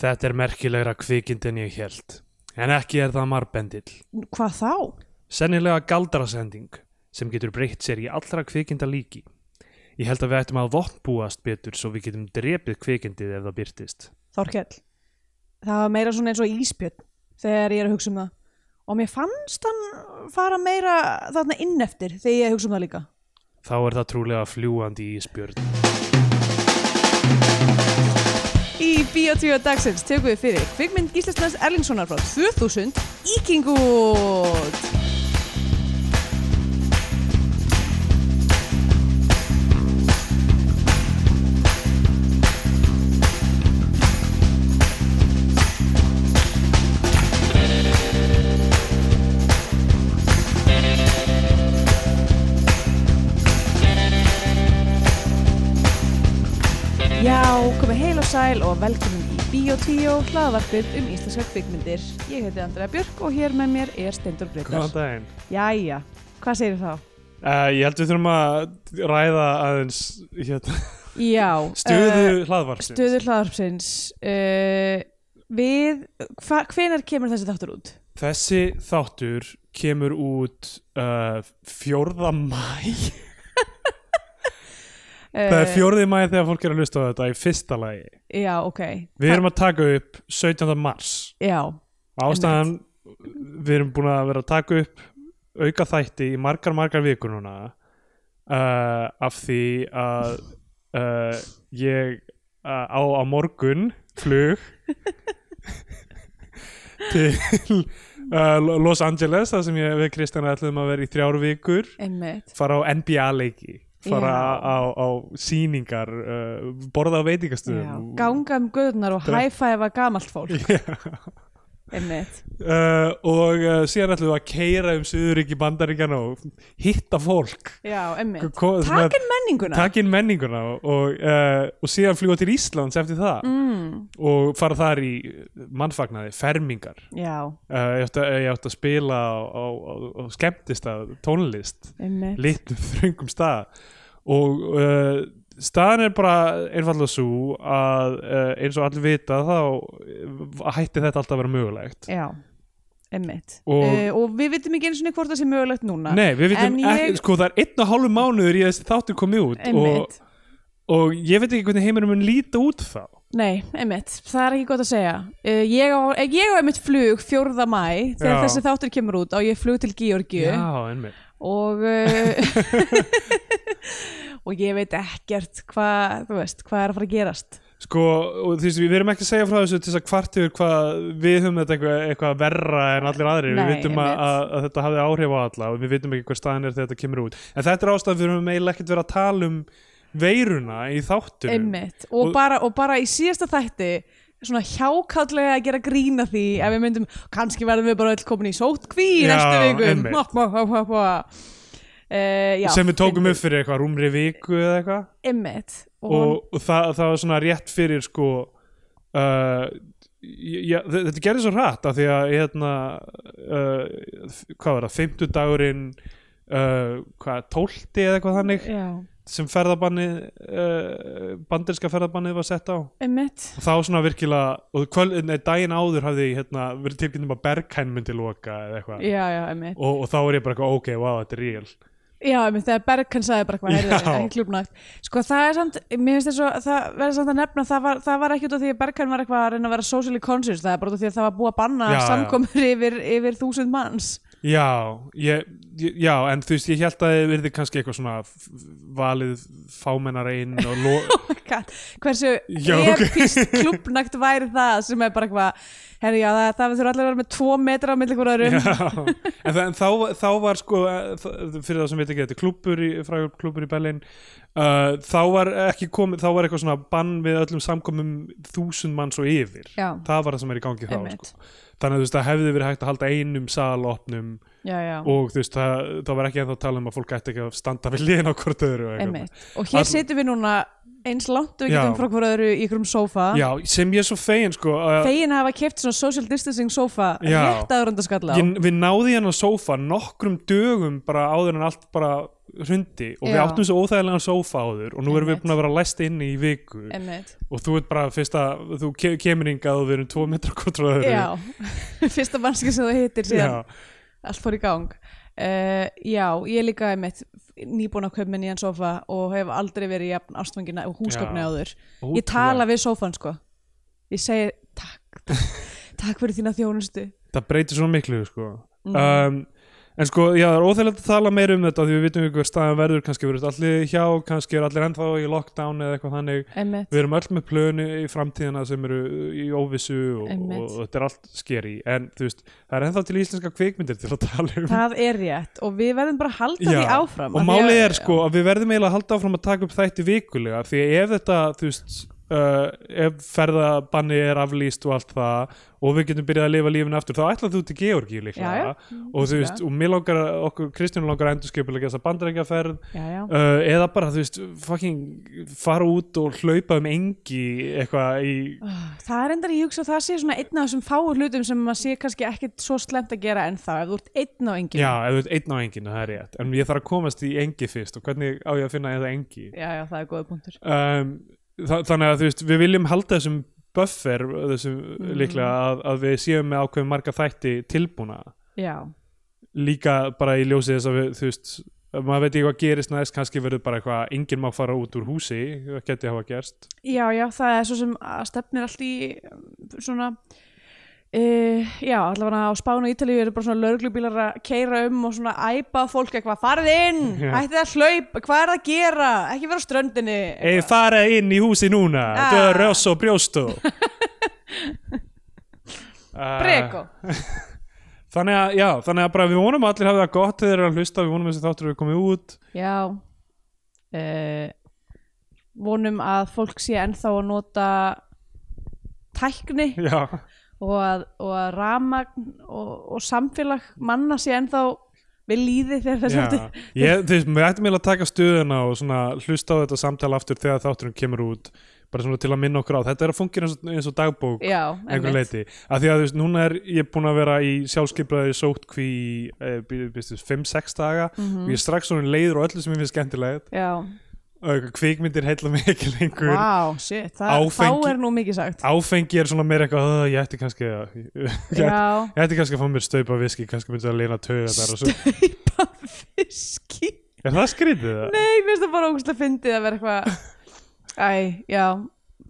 Þetta er merkilegra kvikind en ég held. En ekki er það marbendill. Hvað þá? Sennilega galdrasending sem getur breytt sér í allra kvikinda líki. Ég held að við ættum að vopnbúast betur svo við getum drepið kvikindið ef það byrtist. Þorkell. Það var meira svona eins og íspjörn þegar ég er að hugsa um það. Og mér fannst hann fara meira þarna inn eftir þegar ég hugsa um það líka. Þá er það trúlega fljúandi ísbjörn. Í Bíotíu dagsins tökum við fyrir kvikmynd Gíslasnæs Erlingssonar frá 2000 Íkingut. Já, komið heil og sæl og velkomin í Bíotíu hlaðvarpið um íslenska kvikmyndir. Ég heiti Andrea Björk og hér með mér er Steindur Góðan Greitar. daginn. Jæja, hvað segir þá? Uh, ég held við þurfum að ræða aðeins hérna, Já, stöðu uh, uh, hlaðvarsins. stöðu hlaðvarpsins. Uh, við, hva, hvenar kemur þessi þáttur út? Þessi þáttur kemur út uh, 4. mæ. Eh. Það er 4. mæ þegar fólk er að hlusta á þetta í fyrsta lagi. Já, ok. Við erum að taka upp 17. mars. Já, Ástæðan, við erum búin að vera að taka upp auka þætti í margar, margar vikur núna uh, af því að uh, ég uh, á á morgun flug til uh, Los Angeles þar sem ég við Kristjana ætlum að vera í þrjár vikur einmitt. fara á NBA leiki fara Já. á, á sýningar uh, borða á Já, veitingastöðum ganga um göðunar og Dre- hæfæfa gamalt fólk Já. einmitt. uh, og uh, síðan ætlum við að keira um Suðuríki bandaríkjana og hitta fólk Já, einmitt. Ko- svona- Takk en menninguna taka inn menninguna og, uh, og síðan fljúa til Íslands eftir það mm, og fara þar í mannfagnaði, fermingar Já, uh, ég, átti, að- ég átti að spila á, á, á, á skemmtist tónlist einmitt litlum þröngum stað og uh, staðan er bara einfallega svo að uh, eins og allir vita þá uh, hætti þetta alltaf að vera mögulegt Já, einmitt Og- og, og við vitum ekki eins og hvort það sé mögulegt núna Nei, við vitum En ekki, ég- sko það er einn og hálfu mánuður í að þessi þáttu komið út og, Einmitt, og ég veit ekki hvernig heimurinn mun líta út þá nei, einmitt, það er ekki gott að segja uh, ég, á, ég á einmitt flug 4. mæ þegar Já. þessi þáttur kemur út og ég flug til Georgiu einmitt og uh, og ég veit ekkert hvað, þú veist, hvað er að fara að gerast Sko, og þú veist, við erum ekki að segja frá þessu til þess að kvart yfir hvað við höfum þetta eitthvað, eitthvað verra en allir aðrir við Nei, vitum að, einmitt. að, að þetta hafði áhrif á alla og við vitum ekki hver staðan er þegar þetta kemur út en þetta er ástæðan fyrir við höfum eiginlega ekkert verið að tala um veiruna í þáttunum Einmitt. Og, bara, og bara í síðasta þætti svona hjákallega að gera grína því ef við myndum, kannski verðum við bara öll komin í sótkví í Já, næstu vikum einmitt. Má, má, má, má, má. Uh, já, sem við tókum fyndið. upp fyrir eitthvað rúmri viku eða eitthvað einmitt og, og, og það, það var svona rétt fyrir sko uh, já, þe- þetta gerði svo hratt af því að hérna uh, f- hvað var það, fimmtudagurinn uh, hvað, tólti eða eitthvað þannig já, sem ferðabannið uh, bandirska ferðabannið var sett á og einmitt þá svona virkilega og kvöld, nei, daginn áður hafði ég hérna, verið tilkynnt um að Berghain myndi loka eða eitthvað já, já, einmitt og, og þá er ég bara eitthvað, ok, wow, þetta er real Já, menn, þegar Berg hann sagði bara hvað er Já. ekki klubnægt Sko það er samt, mér finnst þess að það verður samt að nefna það var, það var ekki út af því að Berg hann var eitthvað að reyna að vera socially conscious það er bara út af því að það var búið að banna Já, já. samkomur yfir, yfir þúsund manns Já, ég, ég- já, en þú veist, ég held að þið verði kannski eitthvað svona f- valið fámennar einn og lo... Oh God, hversu Já, ok. epist klubnægt væri það sem er bara eitthvað herri já það, það þurfa allir að vera með tvo metra á milli hverju öðrum já, en, það, en þá, þá var sko, eh, þ- fyrir það sem veit ekki, þetta er klúpur í, frá klúpur í Berlin, uh, þá var ekki komið, þá var eitthvað svona bann við öllum samkomum þúsund manns og yfir. já, Það var það sem er í gangi þá, einmitt sko. Þannig að þú veist, það hefði verið hægt að halda einum salopnum já, já, og þú veist, það, það var ekki ennþá að tala um að fólk ætti ekki að standa við liðin á hvort öðru og eitthvað. einmitt og hér All- situm við núna eins langt og við Já. getum frá hverju öðru í ykkurum sófa Já, sem ég er svo fegin sko að fegin að hafa keft svona social distancing sófa Já. rétt aður undarskalla á ég, við náði hennar sófa nokkrum dögum bara áður en allt bara hrundi og við Já. áttum svo óþægilegan sófa áður og nú erum við Einmitt. búin að vera læst inni í viku Einmitt. og þú ert bara fyrst að þú ke kemur hingað og við erum tvo metra hvort frá öðru Já, fyrsta mannski sem þú hittir síðan allt fór í gang uh, Já, ég líka einmitt nýbúin að kaupa mér nýjan sofa og hef aldrei verið jafn ástfangina og húsgöfni Já. áður Ég tala við sofan sko Ég segi takk Takk fyrir þína þjónustu það breytir svo miklu sko. Mhm. um, en sko, já, það er óþægilegt að tala meir um þetta því við vitum ekki hver staðan verður kannski verður allir hjá, kannski er allir ennþá í lockdown eða eitthvað þannig Einmitt, við erum öll með plönu í framtíðina sem eru uh, í óvissu og, Einmitt. og, þetta er allt skeri en þú veist, það er ennþá til íslenska kvikmyndir til að tala um það er rétt og við verðum bara að halda því Já, og áfram af því að- málið er sko að við verðum eiginlega að halda áfram að taka upp þætti vikulega því að ef þetta, þú veist uh, ef ferðabanni er aflýst og allt það og við getum byrjað að lifa lífinu aftur þá ætlaðu þú til Georgi líklega Já, já, og þú veist, og mér langar að- okkur Kristján langar að endurskipulega þessa bandarækjaferð Já, já uh, eða bara, þú veist, fucking fara út og hlaupa um engi eitthvað í Það er endar ég hugsa að það sé svona einn af þessum fáu hlutum sem maður sé kannski ekkit svo slemt að gera ennþá ef þú ert einn á engin Já, ef þú ert einn á enginu, það er rétt en ég þarf að komast í engi fyrst og hvernig á ég að finna eða engi já, já, það er góða punktur um, þa þannig að þú veist við viljum halda þessum buffer þessum líklega að, að við séum með ákveðum marga þætti tilbúna Já, líka bara í ljósi þess að við þú veist ef maður veit ekki hvað gerist næst kannski verður bara eitthvað enginn má fara út úr húsi það geti hafa gerst já, já, það er svo sem að stefnir allt í um, svona uh, Já, allavega á Spánu og Ítalíu eru bara svona lögreglubílar að keira um og svona æpa fólk eitthvað, farð inn, Já. hættið að hlaupa hvað er það að gera, ekki vera á ströndinni Ei, fara inn í húsi núna Ah. ah. Röss og Eh, brjóstu Breko Þannig að, já, þannig að bara við vonum að allir hafi það gott þegar þeir eru að hlusta, við vonum að þessi þáttur við komið út Já uh, vonum að fólk sé ennþá að nota tækni Já, og að, og að ramagn og, og samfélag manna sé ennþá við líði þegar þess Já, aftur ég, þú veist, við ættum eiginlega að taka stöðuna og svona hlusta á þetta samtala aftur þegar þátturinn kemur út bara svona til að minna okkur á, þetta er að fungera eins og, eins og dagbók Já, einhver einmitt. leiti, af því að þú veist, núna er ég búin að vera í sjálfskeiplaði sótkví eh, bí- býstu, 5-6 daga Mhm. og ég er strax svona leiður og öllu sem ég finnst skemmtilegt Já, og eitthvað kvikmyndir heilla mig ekki lengur wow, shit, það, Áfengi- þá er nú mikið sagt áfengi er svona meira eitthvað, "Ugh, ég ætti kannski að ég ætti- Já, ég ætti kannski að fá mér staupa viski, kannski myndi að leina töða þar og svo, staupa fiski er það skrítið það? Nei, mér finnst það bara ógust að fyndið að vera eitthvað Æ, já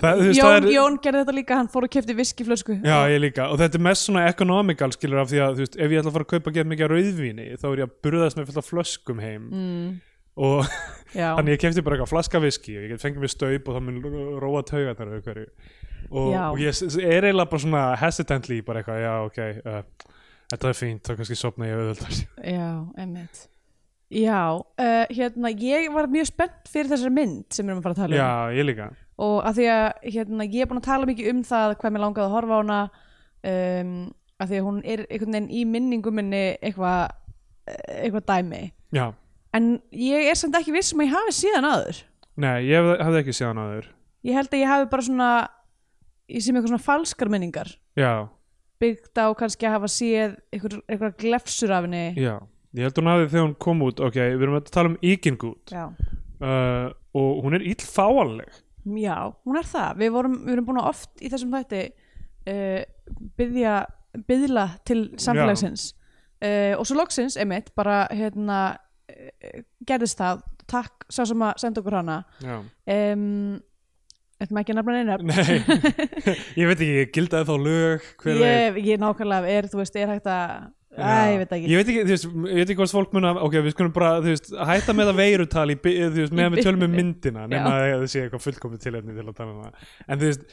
það þú veist, það Jón, er- Jón gerði þetta líka, hann fór og kefti viskiflösku Já, ég líka, og þetta er mest svona economical skilur af því að, þú veist, ef ég ætla að fara að kaupa gett mikið af rauðvíni, þá er ég að burðast með fullt af flöskum heim mm, og já. þannig ég kefti bara eitthvað flaska viski og ég get fengið mér staup og það mun ró- róa tauga þar og hverju og, Já. og ég s- s- er eiginlega bara svona hesitantly bara eitthvað, já, ok uh, þetta er fínt, þá kannski sopna ég auðvöldar Já, emmitt Já, uh, hérna, ég var mjög spennt fyrir þessari mynd sem við erum að fara að tala um Já, ég líka og að því að hérna, ég er búin að tala mikið um það hvað mér langaði að horfa á hana um, að því að hún er einhvern veginn í minningu minni eitthvað eh, eitthvað dæmi Já, en ég er samt ekki viss um að ég hafi síðan aður nei, ég hef- hafði ekki séð hann áður ég held að ég hafi bara svona ég sé mig eitthvað svona falskar minningar Já, byggt á kannski að hafa séð eitthvað, eitthvað glefsur af henni já, ég held hún hafði þegar hún kom út, ok, við erum að tala um Íkingút Já. uh, og hún er illfáanleg Já, hún er það. Við, vorum, við erum búin að oft í þessum þætti uh, byðja, byðla til samfélagsins uh, og svo loksins, einmitt, bara hérna, uh, gerðist það takk sá sem að senda okkur hana Já um, Þetta maður ekki að nefna neina nöfn. Nei, ég veit ekki, gildaði þá lög hver veit? ég, ég nákvæmlega er, þú veist, er hægt að Æ, ég veit það ekki Ég veit ekki, þú veist, ég veit ekki hvort fólk mun að ok, við skulum bara, þú veist, hætta með að veirutal í, bi- þú veist, meðan við tölum um myndina nema að það sé eitthvað fullkomið tilefni til að tala um það en þú veist,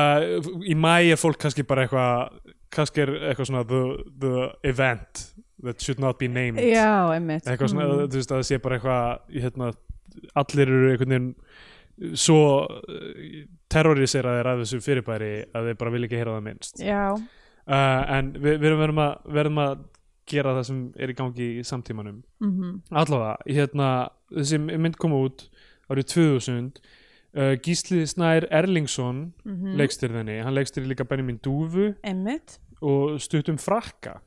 uh, í mæ er fólk kannski bara eitthvað kannski er eitthvað svona the, the event that should not be named Já, einmitt eitthvað svona, Mm. þú veist, að það sé bara eitthvað hérna, allir eru einhvern veginn svo terroriseraðir af þessu fyrirbæri að þeir bara vilja ekki heyra það minnst uh, Mm-hmm. Já, en við, við verðum, að, verðum að gera það sem er í gangi í samtímanum mhm allavega, hérna, þessi mynd kom út árið 2000 uh, Gísli Snær Erlingsson mm leikstir þenni, hann leikstir líka Benjamin Dúfu Emmitt, og stuttum frakka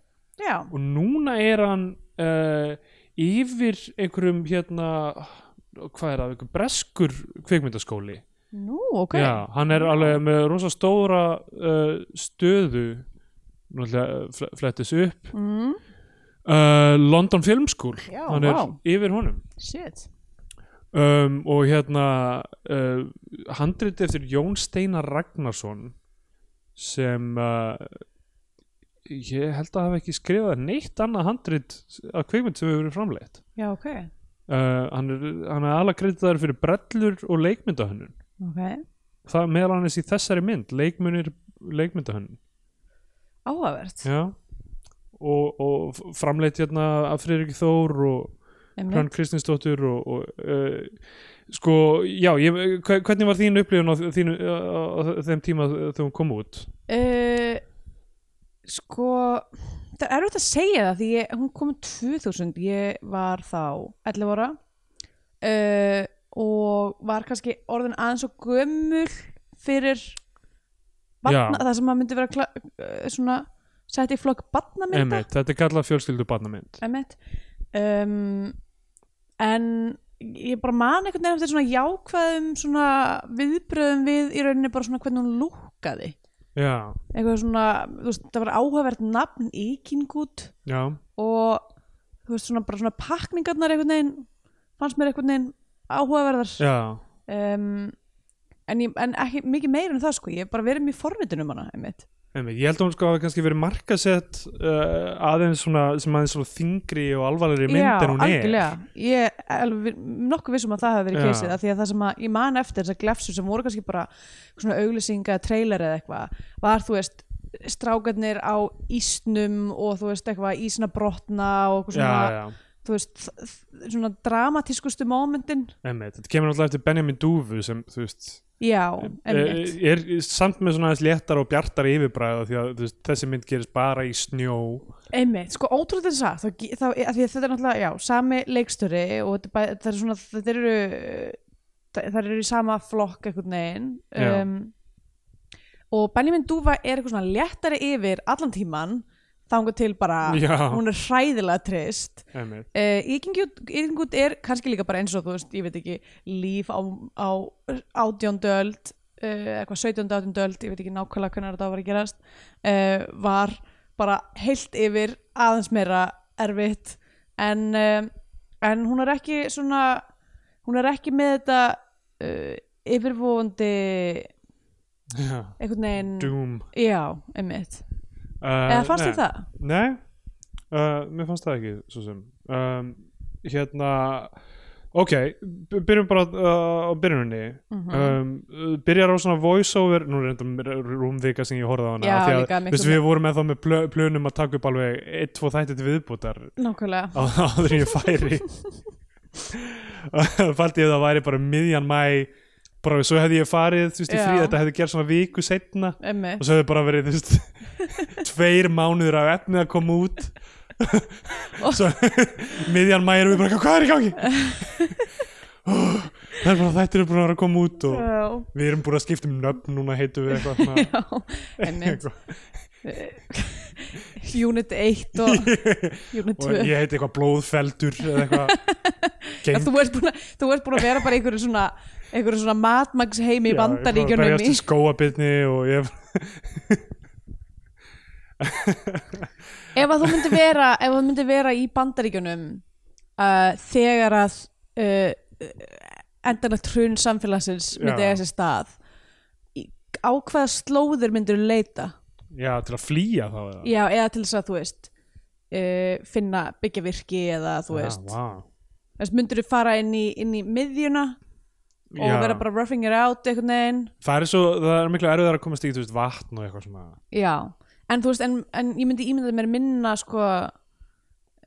já og núna er hann uh, yfir einhverjum hérna hvað er það, einhver breskur kvikmyndaskóli Nú, ok Já, hann er alveg með rosa stóra uh, stöðu náttúrulega fl- flettis upp mm, uh, London Film School Já, hann er vá. yfir honum Shit um, og hérna uh, handrit eftir Jón Steinar Ragnarsson sem uh, ég held að hafa ekki skrifað neitt annað handrit af kveikmynd sem hefur verið framleitt Já, ok, uh, hann er, hann er alveg kreditaður fyrir brellur og leikmyndahönnun ok það meðal hann í þessari mynd leikmunir leikmyndahönnun Áhugavert, já og, og framleitt hérna af Friðrik Þór og Emmitt Hrönn Kristinsdóttur og, og uh, sko, já, ég, hve- hvernig var þín upplifun á, þínu, á, á þeim tíma þegar hún kom út? uh, Sko Það er erfitt að segja það því ég, hún kom 2000, ég var þá 11 ára uh, og var kannski orðin aðeins og gömul fyrir batna, Já. það sem maður myndi vera kla, uh, svona sett í flokk batnamynda Emmett, þetta er kallað fjölskyldu barnamynd Emmett um, en ég bara man einhvern veginn eftir svona jákvæðum svona viðbröðum við í rauninni bara svona hvernig hún lúkkaði Já, eitthvað svona, þú veist, það var áhugavert nafn Íkingút já, og þú veist svona bara svona pakningarnar einhvern veginn fannst mér einhvern veginn áhugaverðar já um, en, ég, en ekki mikið meira en það sko, ég hef bara verið mjög forvitin um hana einmitt. Emmett, ég held að hún sko hafa kannski verið markasett uh, aðeins svona, sem aðeins svona þingri og alvarlegri mynd en hún algjörlega ég er alveg nokkuð vissum að það hafi Já. verið keysið af því að það sem að ég man eftir þessar glefsur sem voru kannski bara svona auglýsinga trailer eða eitthvað, var þú veist strákarnir á ísnum og þú veist eitthvað ísna brotna og er eitthvað Já, svona, já, þú veist þ- þ- svona dramatískustu momentin Emmett, þetta kemur alltaf eftir Benjamin Dúfu sem, þú veist já, Eh, er, emmitt, er samt með svona aðeins léttar og bjartar yfirbræða því að þú veist, þessi mynd gerist bara í snjó emmitt sko ótrúlega þess að, þá, þá, eh, af því að þetta er náttúrulega já, sami leikstöri og þetta, er bæ, þetta er svona, þetta eru það eru í sama flokk einhvern veginn Já. um, og Benjamin Dúfa er eitthvað svona léttari yfir allan tíman þangu til bara Já. Ah. hún er hræðilega trist Emmett Uh, Íkingjút er kannski líka bara eins og þú veist, ég veit ekki, líf á, á átjóndöld uh, eitthvað sautjóndu átjóndöld, ég veit ekki nákvæmlega hvernig þetta var að gerast uh, var bara heilt yfir aðeins meira erfitt en, uh, en hún er ekki svona, hún er ekki með þetta uh, yfirvóandi Já, einhvern veginn, Doom já, einmitt uh, eða fannst nei. þér það? Nei, uh, mér fannst það ekki svo sem um, Hérna Ok, b- byrjum bara uh, á byrjuninni Mhm. um, Byrjar á svona voiceover Nú er þetta rúmvika sem ég horfði á hana Já, af því að, líka, miklu veist, Við vorum með þá með plö- plönum að taka upp alveg eitt, tvo þætti til viðbútar Nákvæmlega, á áður en ég færi faldi ég að það væri bara um miðjan mæ bara svo hefði ég farið þú veist í Já. frí þetta hefði gerð svona viku setna og einmitt svo hefði bara verið þú veist tveir mánuður af efni að koma út svo miðjan mæ erum við bara hvað er í gangi Ó, það er bara þetta er búin að vera að koma út og Já, við erum búin að skipta um nöfn núna heitum við eitthvað svona- já, einmitt eitthvað Unit 1 og Unit og 2 ég heiti eitthvað blóðfeldur eða eitthvað En þú ert, búin að, þú ert búin að vera bara í einhverju svona, einhverju svona matmags heimi í Já, Ég er bara að bandaríkjunum í, berjast í skóabirni og ég um- ef að þú myndir vera ef að þú myndir vera í bandaríkjunum uh, þegar að uh, endanlegt hrun samfélagsins myndi Já. eiga sér stað í, á hvaða slóðir myndir leita Já, til að flýja þá eða já, eða til þess að þú veist uh, finna byggja virki eða þú veist, Já, vá. þess myndir þú fara inn í, inn í miðjuna og Já. vera bara roughing it out einhvern veginn Það er svo, það er miklu erfiðar að komast í þú veist, vatn og eitthvað svona Já, en þú veist, en, en ég myndi ímynda mér minna sko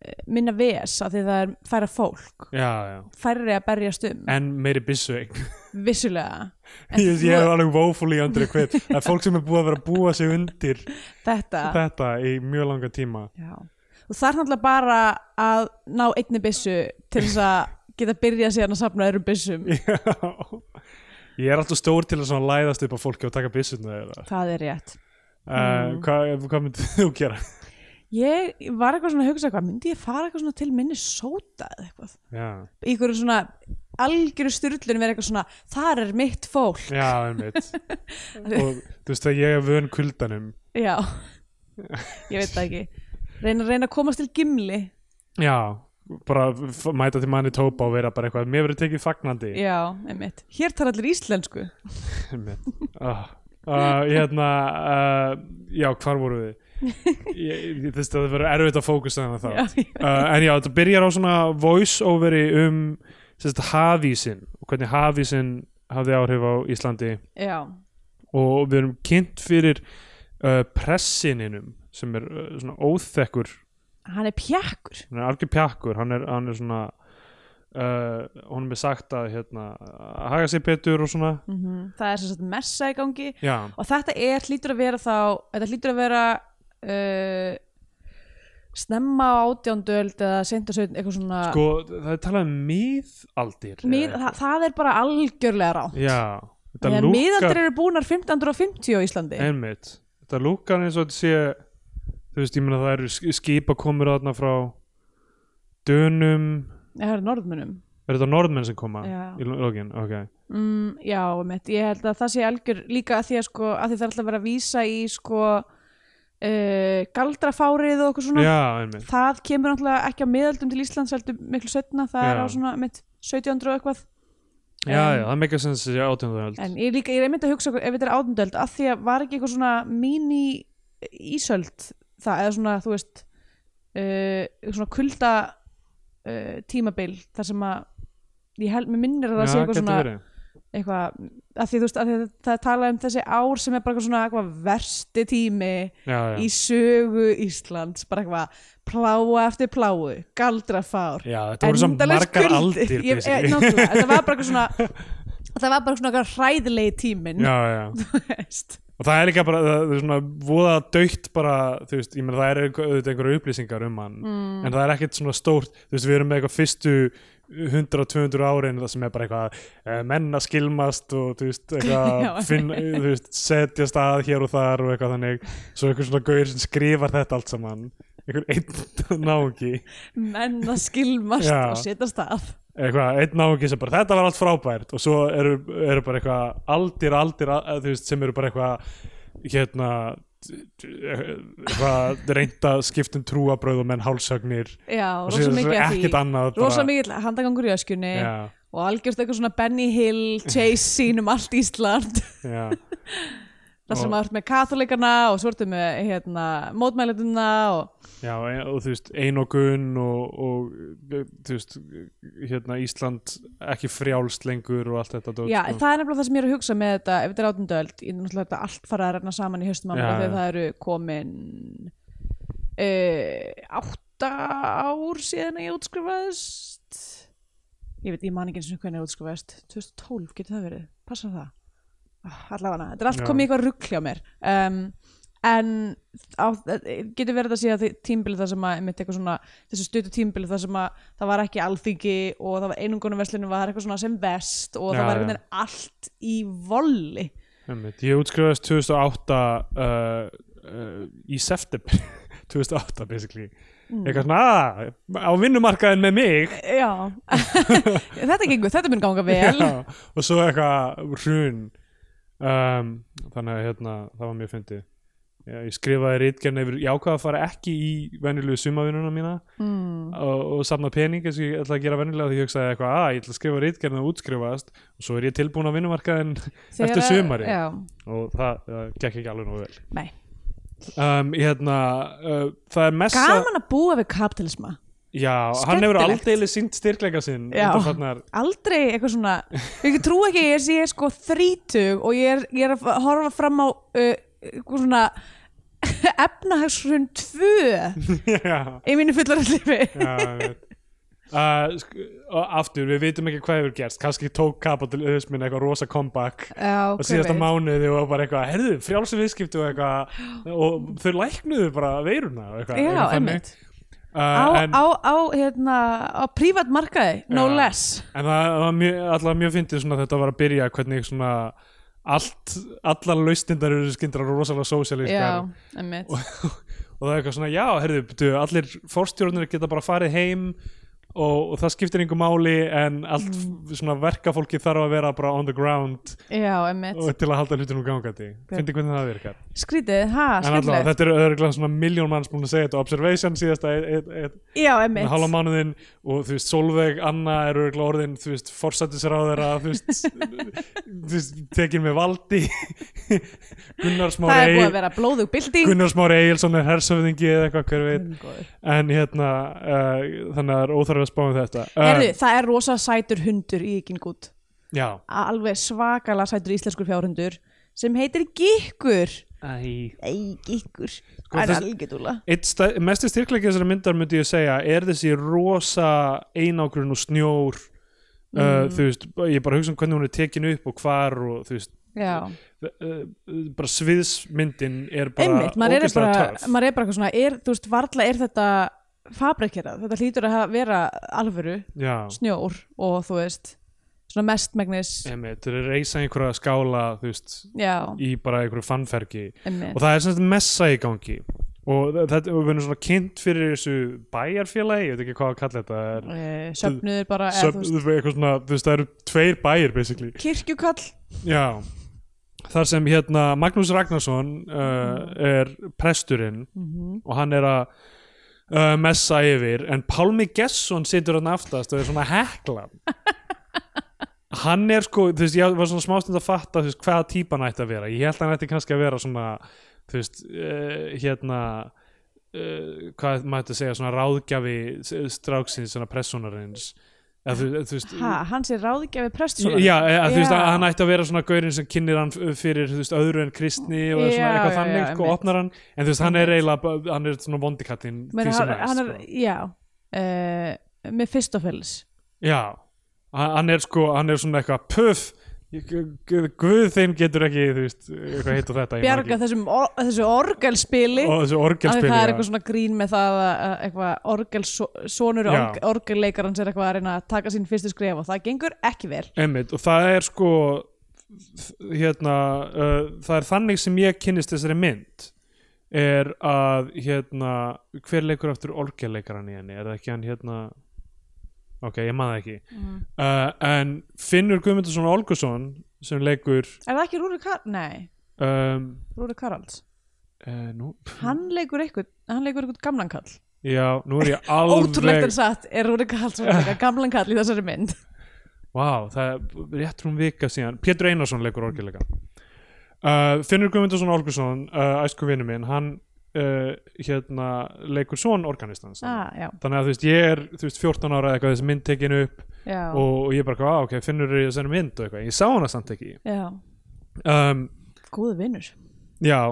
eh, minna ves af því það er færa fólk Já, já, færri að berjast um, en meiri byssu eign vissulega en Ég þú- ég er alveg woefully under equipped Það er fólk sem er búið að vera að búa sig undir þetta þetta í mjög langa tíma já. og það er náttúrulega bara að ná einni byssu til þess að geta byrjað síðan að safna öðrum byssum Já Ég er alltaf stór til að svona læðast upp á fólki og taka byssuna þeirra. það er rétt Uh, Mm. hvað, hvað myndir þú gera? ég var eitthvað svona að hugsa eitthvað myndi ég fara eitthvað svona til minni sóta eða eitthvað Já, í hverju svona algjöru styrlun verið eitthvað svona þar er mitt fólk já, einmitt. og þú veist að ég er vön kuldanum. já, ég veit það ekki reyna, reyna að komast til gimli Já, bara f- mæta til manni tópa og vera bara eitthvað. Mér verður tekið fagnandi. já, einmitt, hér tar allir íslensku Einmitt. Ah. Uh, hérna, uh, já, hvar voru við? Ég, ég, þú veist að það verður erfitt að fókusa þannig að það. já, ég- uh, en já, þetta byrjar á svona voice overi um sérst, hafísin og hvernig hafísin hafði áhrif á Íslandi já, og við erum kynnt fyrir uh, pressininum sem er uh, svona óþekkur hann er pjakkur hann er algjör pjakkur hann er, hann er svona uh, honum er sagt að hérna, að haga sér betur og svona Mm. það er sem sagt messa í gangi já, og þetta er hlýtur að vera þá þetta hlýtur að vera uh, snemma á átjándöld eða seint og sveitn eitthvað svona sko, það er talað um miðaldir eða Ah. mið, eitthvað. það, það er bara algjörlega rá Sko, eh, já, þetta þegar lúkar miðaldir eru búnar 1550 á Íslandi einmitt, þetta lúkar eins og þetta sé þú veist, ég meina það eru skipa komur þarna frá Dönum það er norðmunum er þetta norðmenn sem koma Já. í lógin, ok mm, já, mitt, ég held að það sé algjör líka að því að, sko, að því það er alltaf að vera að vísa í sko uh, galdrafárið og okkur svona já, einmitt, það kemur náttúrulega ekki á miðaldum til Íslands heldur miklu setna, það er Já. á svona mitt 1700 og eitthvað já, já, það meikar sens þessi átjönduðöld en ég, líka, ég er einmitt að hugsa ef þetta er átundöld að því að var ekki eitthvað svona mini ísöld það eða svona þú veist uh, svona kulda uh, tímabil þar sem að ég held, mér minnir að það sé eitthvað svona eitthvað, að því þú veist að því, að það tala um þessi ár sem er bara eitthvað svona eitthvað versti tími já, já. í sögu Íslands bara eitthvað pláa eftir pláu galdrafár já, þetta voru samt endalaus margar kuldi. aldir Ég- eh, ég- basically. nákvæmlega, þetta var bara eitthvað svona það var bara svona eitthvað hræðilegi tímin já, já, veist. og það er líka bara það, það er svona voða dögt bara, þú veist, ég meina það eru einhver- auðvitað einhverja upplýsingar um hann en það er ekkert svona stórt, þú veist, við erum með eitthvað fyrstu 100-200 árin það sem er bara eitthvað eh, menn að skilmast og þú veist, eitthvað Já. finn, þú veist, setjast að hér og þar og eitthvað þannig, svo einhver svona gaur sem skrifar þetta allt saman einhver einn náungi menn að skilmast Já. og setja stað eitthvað, einn náungi sem bara þetta var allt frábært og svo eru, eru bara eitthvað aldir, aldir, að, þú veist, sem eru bara eitthvað hérna eitthvað reynda skiptum trúabröð um og menn hálsagnir já, og rosa síðan mikið að því ekkert annað bara- rosa mikið handagangur í öskunni Já, og algjörst eitthvað svona Benny Hill chase scene um allt Ísland já, það sem Og- að þú ert með katholikana og svo ertu með hérna, mótmælinduna og já, e- og þú veist einokun og, og e, þú veist, hérna Ísland ekki frjálst lengur og allt þetta dót, já, sko. það er nefnilega það sem ég er að hugsa með þetta ef þetta er átundöld, ég er náttúrulega þetta allt fara að renna saman í höstum á mér Já, af því já. að það eru komin uh, átta ár síðan að ég útskrifaðist ég veit, ég man ekki eins og hvernig ég útskrifaðist 2012 getur það verið, passa það Ah, allavega, þetta er allt Já. komið í eitthvað ruggli á mér um, en á, getur verið að sé að tímbili það sem að einmitt eitthvað svona, þessu stuttu tímbili það sem að það var ekki alþingi og það var einungunum verslunum var eitthvað svona sem vest og Já, það var já. einhvern veginn allt í volli Einmitt. Ég útskrifaðist 2008 uh, uh, í september 2008 basically Mm. eitthvað svona "Ah, á vinnumarkaðin með mig já, þetta gengur, þetta mun ganga vel já, Já, og svo eitthvað hrun um, þannig að hérna, það var mjög fyndið Já, ég skrifaði rítgerna yfir, ég ákvað að fara ekki í venjulegu sumavinnuna mína mm. og, og safna pening eins og ég ætla að gera venjulega því ég hugsaði eitthvað að ég ætla að skrifa rítgerna og útskrifast og svo er ég tilbúin á vinnumarkaðin Þegar eftir að- sumari já, og það, það gekk ekki alveg nógu vel nei um, hérna, uh, það er messa gaman að búa við kapitalisma já, hann hefur Skemmtilegt. aldeilis sínt styrkleika sinn Já. undanfarnar- aldrei eitthvað svona ég trú ekki að ég sé sko þrítug og ég er, ég er að horfa fram á uh, eitthvað svona efnahagsrun 2 já, í mínu fullarinslifi já ég veit. Uh, sk- og aftur, við vitum ekki hvað hefur gerst kannski tók kapitalismin eitthvað rosa comeback Já, og hver síðasta veit. mánuði og bara eitthvað, herðu, frjálsum viðskipti og eitthvað og þau læknuðu bara veiruna og eitthvað, Já, eitthvað þannig. einmitt á, uh, en, á, á, hérna, á prívat markaði, no Já. less en það, það var mjög, allavega mjög fyndið svona þetta var að byrja hvernig svona allt, allar laustindar eru skyndar og rosalega sósialískar já, emmitt og, og það er eitthvað svona já, herðu, betu, allir fórstjórnir geta bara farið heim og, og það skiptir yngur máli en allt Mm. svona verkafólki þarf að vera bara on the ground já, emmitt, og til að halda hlutunum gangandi fyndi hvernig það virkar skrítið, en ha, allavega, skemmtilegt þetta eru öðruglega svona miljón manns búin að segja þetta observation síðasta e- eitt- eitt- eitt- já, með hálfa emmitt, mánuðinn og þú veist Solveig, Anna eru örugglega orðin þú veist, forsættisráðara þú veist, þú veist, tekin með valdi Gunnar það er Smári búið að vera blóðug bilding Gunnar Smári Egilson er hersöfðingi eða eitthvað hver veit en hérna, uh, þannig að það er óþarf að spá um þetta uh, Herðu, það er rosa sætur hundur í Gingút Já alveg svakalega sætur íslenskur fjárhundur sem heitir Gikkur Æ. Ei, Gikkur, Sko, það er þess- algjörðúla Eitt stæ- mesti styrklegi þessari myndar myndi ég segja er þessi rosa einangrun og snjór Mm. uh, þú veist, ég er bara að hugsa um hvernig hún er tekin upp og hvar og þú veist já uh, bara sviðsmyndin er bara einmitt, maður er bara, töff maður er bara eitthvað svona er, þú veist, varla er þetta fabrikerað, þetta hlýtur að hafa- vera alvöru, Já, snjór og þú veist, svona mestmægnis einmitt, þeir eru reysa einhverja skála þú veist, já, í bara einhverju fannfergi einmitt og það er semst messa í gangi og þa- þetta, og við erum svona kynnt fyrir þessu bæjarfélagi, ég veit ekki hvað að kalla þetta það er, Eh, söfnuður bara, eða söp, þú veist þú veist, eitthvað svona, þú veist, það eru tveir bæir basically, kirkjukall, já þar sem hérna Magnús Ragnarsson uh, er presturinn og hann er að uh, messa yfir en Pálmi Gesson situr hann aftast og er svona heklan hann er sko, þú veist, ég var svona smástund að fatta þú veist, hvaða típa hann ætti að vera ég held að hann ætti kannski að vera svona þú veist, uh, hérna uh, hvað maður ætti að segja svona ráðgjafi s- stráksins svona pressunarins eða þú, þú veist ha, hans er ráðgjafi prestsónar Já, eða, þú veist, Já. að hann ætti að vera svona gaurinn sem kynir hann f- fyrir þú veist, öðru en kristni og svona Já, eitthvað já, þannig, já, sko, einmitt. opnar hann en þú veist, hann er eiginlega, bara- hann er svona vondikattinn því sem hann, er, hann er, sko. já uh, með Fistofels Já, hann hann er sko, hann er svona eitthvað puff ég- gu- gu- guð þinn getur ekki, þú veist, hvað heitir þetta ég man bjarga ekki. þessum, or, þessu orgelspili og þessu Af því orgelspili það er já. eitthvað svona grín með það að- að eitthvað orgelsonur Já. orgelleikarans er eitthvað að reyna að taka sín fyrstu skref og það gengur ekki vel Einmitt, og það er sko hérna uh, það er þannig sem ég kynnist þessari mynd er að hérna, hver leikur aftur orgelleikaran í henni, er það ekki hann hérna ok, ég maður ekki uh, en Finnur Guðmundsson Olgusson sem leikur Er það ekki Rúri Karls? Nei, um, Rúri Karls uh, nú, Hann leikur eitthvað, hann leikur eitthvað gamlan kall já, nú er ég Ótrúlegt alveg en satt er Rúri Karls að leika gamlan kall í þessari mynd Vá, það er rétt rúm vika síðan Pétur Einarsson leikur orgelega uh, Finnur Guðmundsson Olgursson uh, æsku vinnu minn, hann uh, hérna, leikur svon organistans ah, Já, þannig að þú veist, ég er þú veist, 14 ára eða eitthvað þessi mynd tekin upp já, og, og ég bara, "Á, ok, Finnur er í þessari mynd og eitthvað, ég sá hana samt ekki já um, Góðu vinnur Já,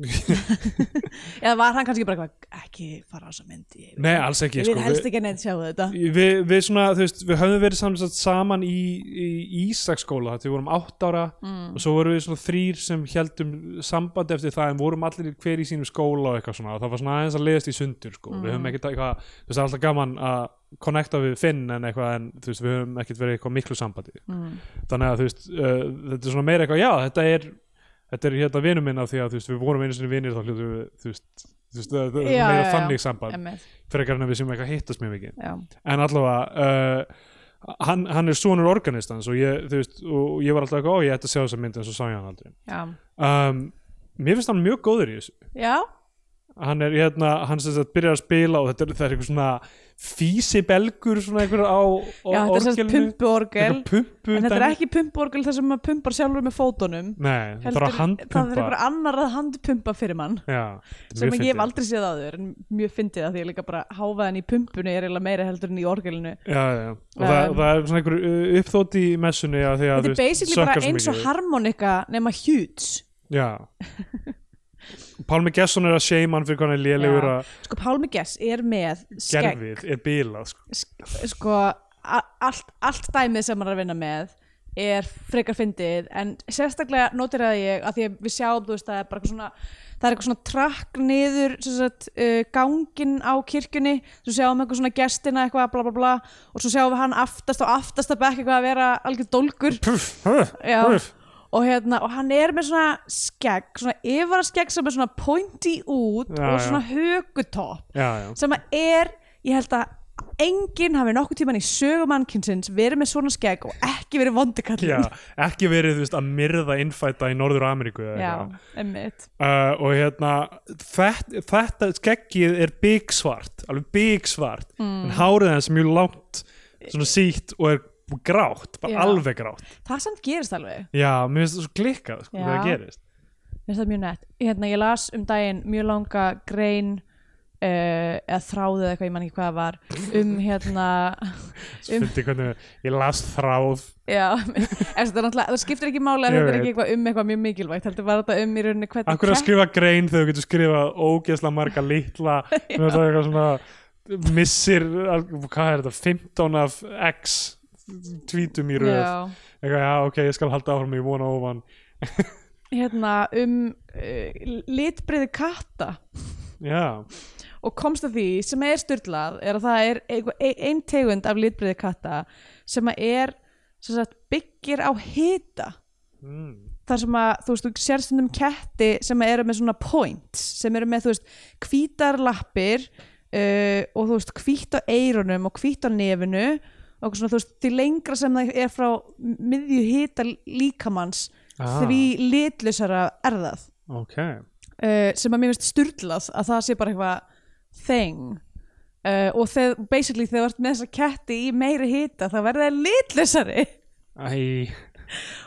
Eða var hann kannski bara eitthvað ekki fara á þessa mynd Ég, nei, alls ekki ég sko, vil helst ekki að neitt sjá þetta við, við svona, þú veist, við höfum verið samsagt saman í, í Ísaksskóla þegar við vorum átt ára Mm. og svo vorum við svona þrýr sem heldum samband eftir það en vorum allir hver í sínum skóla og eitthvað svona og það var svona aðeins að leiðast í sundur sko. við Mm. höfum ekkert eitthvað, þú veist, það er alltaf gaman að connecta við Finn en eitthvað en þú veist, við höfum ekkert verið eitthvað miklu sambandi mm. þannig að þú veist, uh, þetta er svona meira eitthvað já, þetta er, þetta er hérna vinur minn af því að þú veist, við vorum einu sinni vinir þá hlutum við, þú veist, þú veist, það það er Já, meira já, já. þannig samband Emmett, frekar en að við séum eitthvað að hittast mjög mikið já en allavega uh, hann, hann er sonur organistans og ég, þú veist, og ég var alltaf eitthvað, ó ég ætti að sjá þessa mynd en svo sá ég hann aldrei Já, um, mér finnst hann mjög góður í þessu já, hann er hérna, hann sem sagt byrjar að spila og þetta er, það er eitthvað svona físibelgur svona einhver á já þetta er sérst pumpuorgel Eitthvað pumpu En þetta er dæmi. ekki pumporgel þar sem maður pumpar sjálfur með fótunum nei, það þarf að Það er handpumpa einhver annar að handpumpa fyrir mann já, þetta sem er mjög ég hef fyndið. aldrei séð áður en mjög fyndið að því að líka bara háfaðan í pumpunni er eiginlega meira heldur en í orgelinu já, já, já. og það, Um, það er svona einhver uh, uppþótt í messunni að því að Þetta er þú veist, basically sökkar bara svo eins og mikið. harmonika nema huge Já Pálmi Gesson er að shame hann fyrir hvað hann er lélegur Já. að Sko Pálmi Gess er með skegg gerfið er bílað sko. sk- sko a- allt, allt dæmið sem hann er að vinna með er frekar fyndið en sérstaklega notiraði ég að því að við sjáum þú veist það er bara eitthvað svona það er eitthvað svona trakk niður sem sagt, uh, gangin á kirkjunni svo sjáum eitthvað svona gestina eitthvað bla bla bla og svo sjáum við hann aftast og aftast að bekk eitthvað að vera algjör dólgur Puff, puff, Já. puff. og, hérna, og hann er með svona skegg, svona yfara skegg sem er svona pointy út Já, og já. svona högutopp Já, já. sem að er, ég held að enginn hafi nokkuð tíman í sögumannkynsins verið með svona skegg og ekki verið vondikallin Já, ekki verið þú veist, að myrða innfæta í Norður Ameríku eða Já, eitthvað. emmitt uh, og hérna þetta, þetta skeggið er bigsvart alveg bigsvart Mm. en hárið hans er mjög langt svona sítt og er grátt, bara Já. alveg grátt Það samt gerist alveg, já, mér finnst það svo klikkað sko, Já. þegar það gerist mér finnst það mjög nett Hérna, ég las um daginn mjög langa grein uh, eða þráðið eitthvað, ég man ekki hvað það var um hérna Um. Fyndi, hvernig, ég las þráð já, en þetta er náttúrulega, það skiptir ekki máli en Ég þetta er veit. ekki eitthvað um eitthvað mjög mikilvægt heldur var þetta um í rauninni hvernig akkur að kepp- skrifa grein þegar þú getur skrifað ógeðslega marga litla þú veist, það er eitthvað svona missir, al- hvað er þetta 15 af x tvítum í röð Já. eitthvað, já, ok, ég skal halda áfram í vona og ofan hérna um uh, litbreiði katta já, og komst að því sem er styrlað er að það er einhver- ein ein tegund af litbreiði katta sem að er sem sagt, byggir á hita mm. þar sem að þú veist, þú sér stundum ketti sem eru með svona points sem eru með, þú veist, hvítar lappir uh, og þú veist, hvít á eyrunum og hvít á nefinu og eitthvað svona, þú veist, því lengra sem það er frá miðju hita líkamanns Ah. því litlusara er það ok uh, sem að mér finnst sturlað að það sé bara eitthvað thing uh, og þegar, basically þegar þú ert með þessa ketti í meiri hita þá verður það litlusari Æ,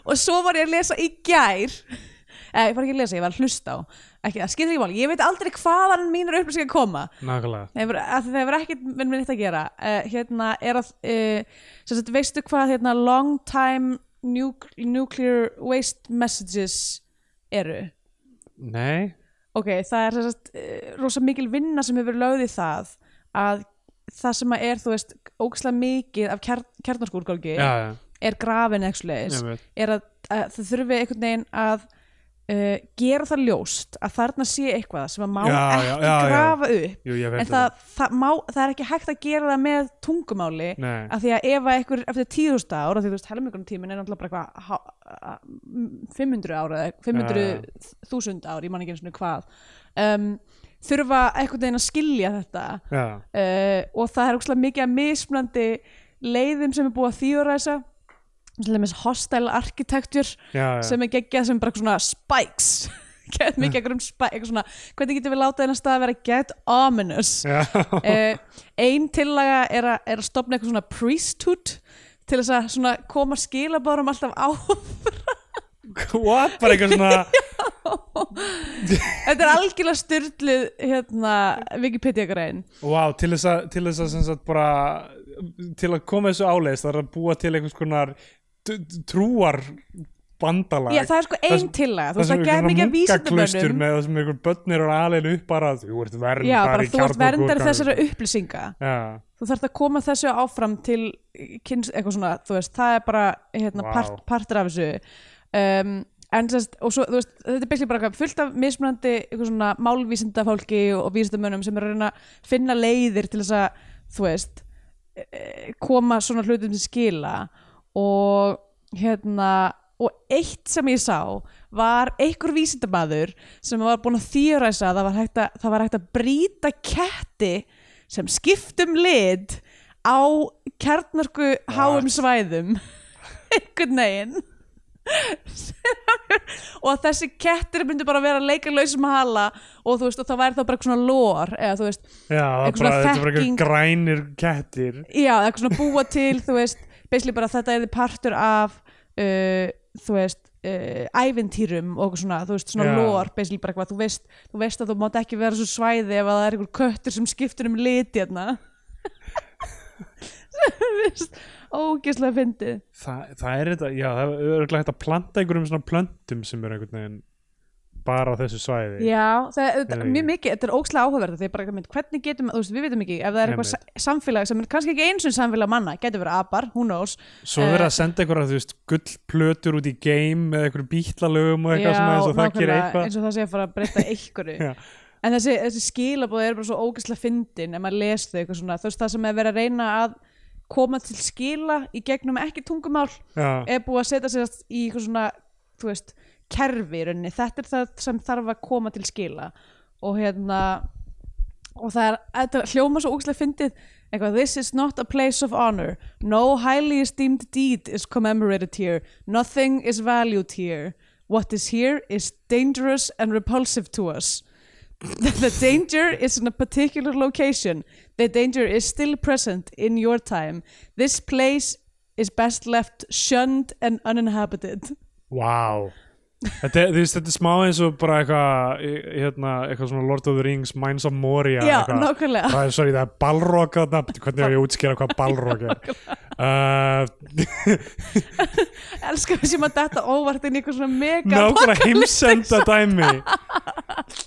og svo var ég að lesa í gær eða ég var ekki að lesa, ég var að hlusta á ekki, það skiptir ekki máli, ég veit aldrei hvaðan mínur upplýsingar koma nákvæmlega Nei, bara- af því það hefur ekkert með mér neitt að gera uh, hérna er að uh, sem sagt, veistu hvað hérna long time nuc nuclear waste messages eru Nei, ok, það er sem sagt, eh, rosa mikil vinna sem hefur verið lögð í það að það sem að er, þú veist, ógslag mikið af kjarn, kjarnarskúrgálgi já, já, er grafin eitthvað ég leis veit er að, að það þurfi einhvern veginn að uh, gera það ljóst að þarna sé eitthvað sem að má Já, ekki já, já, já. grafa upp Jú, ég veit en það, það, má, það er ekki hægt að gera það með tungumáli Nei. af því að ef að einhver eftir tíðust ára því þú veist helmingunum tíminn er náttúrulega bara eitthvað há- a- m- 500 ára eða 500.000 ára, ég man ekki eins og hvað um, þurfa einhvern veginn að skilja þetta Já, uh, og það er ógstlega mikið að mismunandi leiðum sem er búið að þýðuræsa til dæmis hostile architecture já, já, sem er geggjað sem bara eitthvað svona spikes Geðveikt mikið eitthvað um spikes eitthvað svona, hvernig getum við látað þennan stað að vera get ominous já. uh, ein tillaga er, a, er að stopna eitthvað svona priesthood til þess að svona koma skilabárum alltaf á What? Bara eitthvað svona þetta er algjörlega styrluð hérna, Wikipedia grein Wow, til þess að, til þess að sem sagt bara til að koma þessu áleis það er að búa til einhvers konar d- d- trúar bandalag Já, það er sko Það ein sem- tillaga, þú það veist, sem það gæði einhver mikið svona að vísindamönnum munkaklaustur með það sem einhver börn eru alveg upp bara að þú ert verndar Já, bara í þú ert verndar kjarnorkuúrgangi. þessara upplýsinga Já, þú þarft að koma þessu áfram til kynns, eitthvað svona, þú veist, það er bara hérna, Vá. part, partur af þessu um, en sérst, og svo, þú veist þetta er byggt bara eitthvað fullt af mismunandi eitthvað svona málvísinda fólki og, og vísindamönnum sem eru að reyna að finna leiðir til þess að, þú veist e- e- koma svona hlutum til skila og hérna og eitt sem ég sá var einhver vísindamaður sem var búin að þýræsa að það var hægt að, það var hægt að brýta ketti sem skiptum lit á kjarnarku háum svæðum einhvern veginn og að þessi kettir myndi bara vera að leika lausum hala og þú veist og það væri þá bara eitthvað svona lór eða þú veist já það er Eitthvað bara, svona þetta er bara þekking. eitthvað grænir kettir já, eitthvað svona búa til þú veist, basically bara þetta er partur af uh, þú veist uh, ævintýrum og eitthvað svona þú veist, svona Já. lór, basically bara eitthvað þú veist, þú veist að þú mátt ekki vera á svo svæði ef að það er einhver köttur sem skiptur um liti hérna Þú veist, ógislega fyndið Þa, það er þetta, já, það er örugglega hægt að planta einhverjum svona plöntum sem eru einhvern veginn bara á þessu svæði Já, það er auðvitað Nei. mjög mikið, þetta er ókslega áhugaverð þegar bara, einmitt, hvernig getum, þú veist, við veitum ekki ef það er eitthvað Einmitt. sa- samfélag sem er kannski ekki eins og samfélag manna, getur verið apar, who knows svo verður Eh, að senda einhverja, þú veist, gullplötur út í game með einhverjum bítlalögum og eitthvað Já, svona eins og það gerir nákvæmlega, eitthvað eins og það sé að fara að breyta einhverju Já. en þessi, þessi skilabóð er bara svo ógæslega fyndin ef maður les þau eitthvað svona, þú veist það sem er verið að reyna að koma til skila í gegnum ekki tungumál já, er búið að setja sér í eitthvað svona þú veist, kerfi í rauninni þetta er það sem þarf að koma til skila og hérna og það er, þetta hljóma svo ógæslega fyndið eitthvað, this is not a place of honor no highly esteemed deed is commemorated here nothing is valued here what is here is dangerous and repulsive to us the danger is in a particular location. The danger is still present in your time. This place is best left shunned and uninhabited. wow Þetta er, þú veist, þetta er smá eins og bara eitthvað, í- hérna, eitthvað svona Lord of the Rings, Minds of Moria Já, eitthvað. nákvæmlega. Það er, sorry, það er balrog þarna, hvernig er ég að útskýra hvað balrog er uh, Elskar við sem að detta óvart inn í eitthvað svona mega nákvæmlega heimsenda dæmi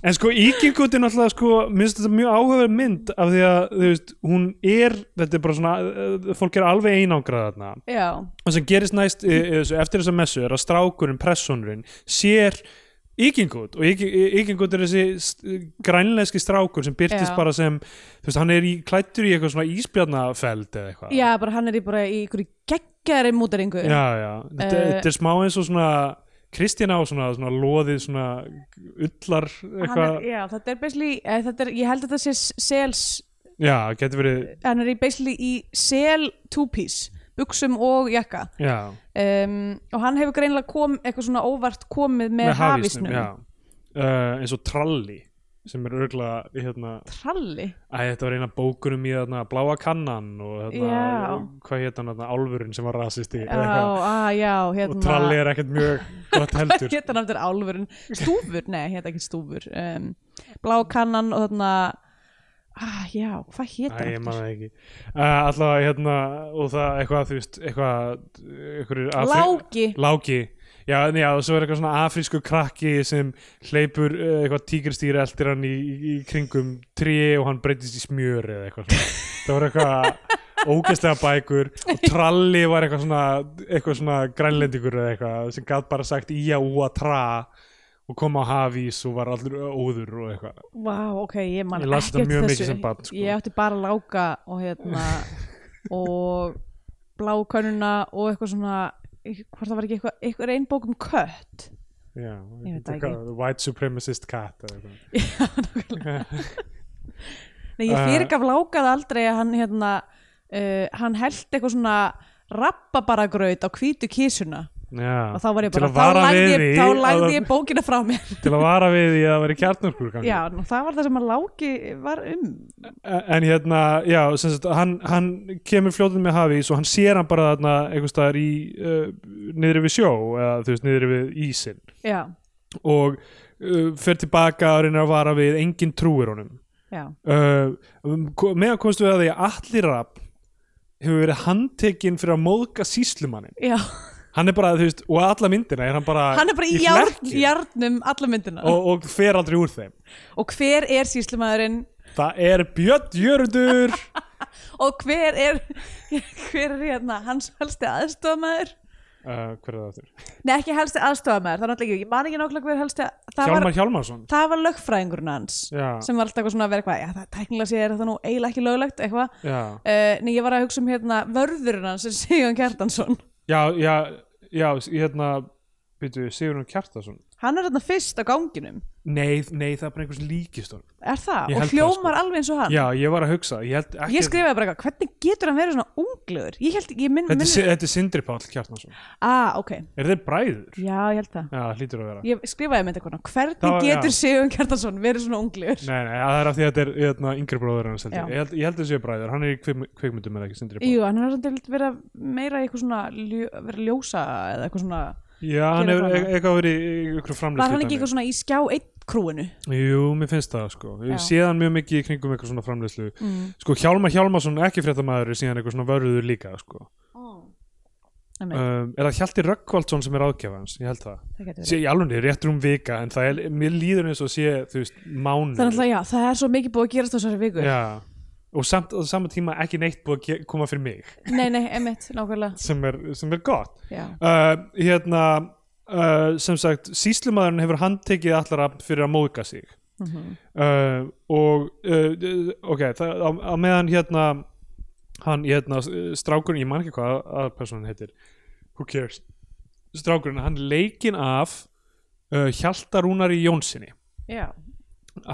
en sko Íkingut er náttúrulega sko, minnst þetta mjög áhugaverð mynd af því að þú veist, hún er þetta er bara svona, uh, fólk er alveg einangrað þarna Já, og sem gerist næst e, e, þessu- eftir þessa messu er að strákurinn, pressunurinn sér Íkingut og Íkingut er þessi st- grænlenski strákur sem byrtist Já. bara sem þú veist, hann er í, klættur í eitthvað svona ísbjarnafeld eða eitthvað já, bara hann er í bara í einhverju geggjari mútaringu já, já. Þetta, Eh, þetta er smá eins og svona Kristína á svona, svona loðið svona ullar eitthvað já, þetta er basically, eh, þetta er, ég held að þetta sé sels, já, getur verið hann er í basically í sel two-piece, buksum og jakka já, um, og hann hefur greinilega kom, eitthvað svona óvart komið með, hafísnum, já. Uh, eins og tralli sem er örgulega hérna, tralli að þetta var eina bókunum í þarna bláa kannan og þarna, Já. hvað hétt hann þarna álfurinn sem var rasisti já, á, já, hérna og tralli er ekkert mjög gott heldur hérna hann aftur álfurinn, stúfur, nei, hérna ekki stúfur um, blákannan og þarna ah, já, hvað Æ, hétar ég man það ekki uh, allavega hérna og það eitthvað þú veist eitthvað, einhverjir Afri- Láki Láki Já, en já, og svo er eitthvað svona afrísku krakki sem hleypur eh, eitthvað tígristýri eldir hann í, í kringum tré og hann breytist í smjör eða eitthvað svona. Það var eitthvað ógeðslega bækur og tralli var eitthvað svona, eitthvað svona grænlendingur eða eitthvað sem gat bara sagt íja úa tra og kom á hafís og var allur óður og eitthvað. Vá, ok, ég man Ég las þetta ekkert mjög mikið þessu. sem barn, sko. Ég átti bara láka og hérna og blákönnuna og eitthvað svona hvort það var ekki eitthvað, eitthvað einn bók um kött Já, Ég veit það eitthvað, white supremacist cat eða eitthvað. Nei, ég Eh. fyrirgaf lákað aldrei að hann hérna, uh, hann held eitthvað svona rappabaragraut á hvítu kísuna Já, og þá var ég til að bara, þá vara lagði, við ég, því þá að- lagði ég bókina frá mér Til að vara við því að það væri kjarnorkur gangi. Já, nú, það var það sem að láki var um en hérna, já, sem sagt hann, hann kemur fljótið með hafís og hann sér hann bara þarna einhvers staðar í uh, niðri við sjó eða þú veist, niðri við ísin Já, og uh, fer tilbaka og reynir að vara við enginn trúir honum já, uh, meðan komst við að því að allir rap hefur verið handtekinn fyrir að móðga síslumannin já hann er bara, þú veist, og alla myndina er hann bara Hann er bara í járn, hlerki járnum alla myndina og, og, og fer aldrei úr þeim hver er síslumæðurinn það er Björn Jörundur og hver er hver er hérna hans helsti aðstofamæður uh, hver er það aftur? Nei, ekki helsti aðstofamæður, það er náttúrulega ekki ég man ekki nákvæmlega hver helsti það var, Hjálmar Hjálmarsson það var lögfræðingurinn hans Já. sem var alltaf eitthvað svona að vera eitthvað já, það tæknilega sé er þetta nú eiginlega ekki löglegt eitthvað Já, Uh, nei, ég var að hugsa um hérna vörðurinn hans sem Sigurðan Kjartansson já, já, já s- hérna, byrju, Sigurinn Kjartason hann er hérna fyrst á ganginum Nei, nei, það er bara einhvers líkistón er það? Ég held og það, sko. hljómar alveg eins og hann Já, ég var að hugsa Ég, held, ekki, ég skrifaði bara eitthvað, hvernig getur hann verið svona unglegur ég held, ég minn, þetta, minn minn... þetta er Sindri Páll Kjartason ah, ok, Er þeir bræður? já, ég held það Já, það hlýtur að vera ég skrifaði með eitthvað, hvernig Það var- getur já. Sigurðan Kjartansson verið svona unglegur Nei, nei, það er af því að þetta er hérna, yngri bróður hans held Já. ég. Ég held, ég held þessi er bræður, hann er í kvik, kvikmyndum eða ekki Sindri Páll jú, hann er svona verið að meira í eitthvað svona ljó, verið að ljósa eða eitthvað svona Já, hann Gera hefur það. e- eitthvað verið í ykkur var hann framlýslu ekki eitthvað svona í skjá eitt krúinu Jú, mér finnst það sko Já. Ég sé hann mjög mikið í kringum eitthvað svona framlýslu mm. Sko, Hjálmar Hjálmarsson, ekki fréttamaður er síðan eitthvað svona vörður líka sko. Einmitt. um, er það Hjalti Rökkvaldsson sem er áðgjafans ég held það, það getur sé verið í alveg réttur um vika en það er, mér líður eins og sé þú veist, mánu Það er alltaf, já, það er svo mikið búið að gerast á þessari viku Já, og samt á saman tíma ekki neitt búið að ge- koma fyrir mig Nei, nei, emitt, nákvæmlega sem er, sem er gott Já, uh, hérna uh, sem sagt, síslumadurinn hefur handtekið allara fyrir að móðga sig mm uh, og uh, ok, það, á, á meðan hérna hann, hérna, s- strákurinn ég man ekki hvað að personan heitir who cares, strákurinn hann er leikinn af uh, Hjaltarúnari Jónsinni já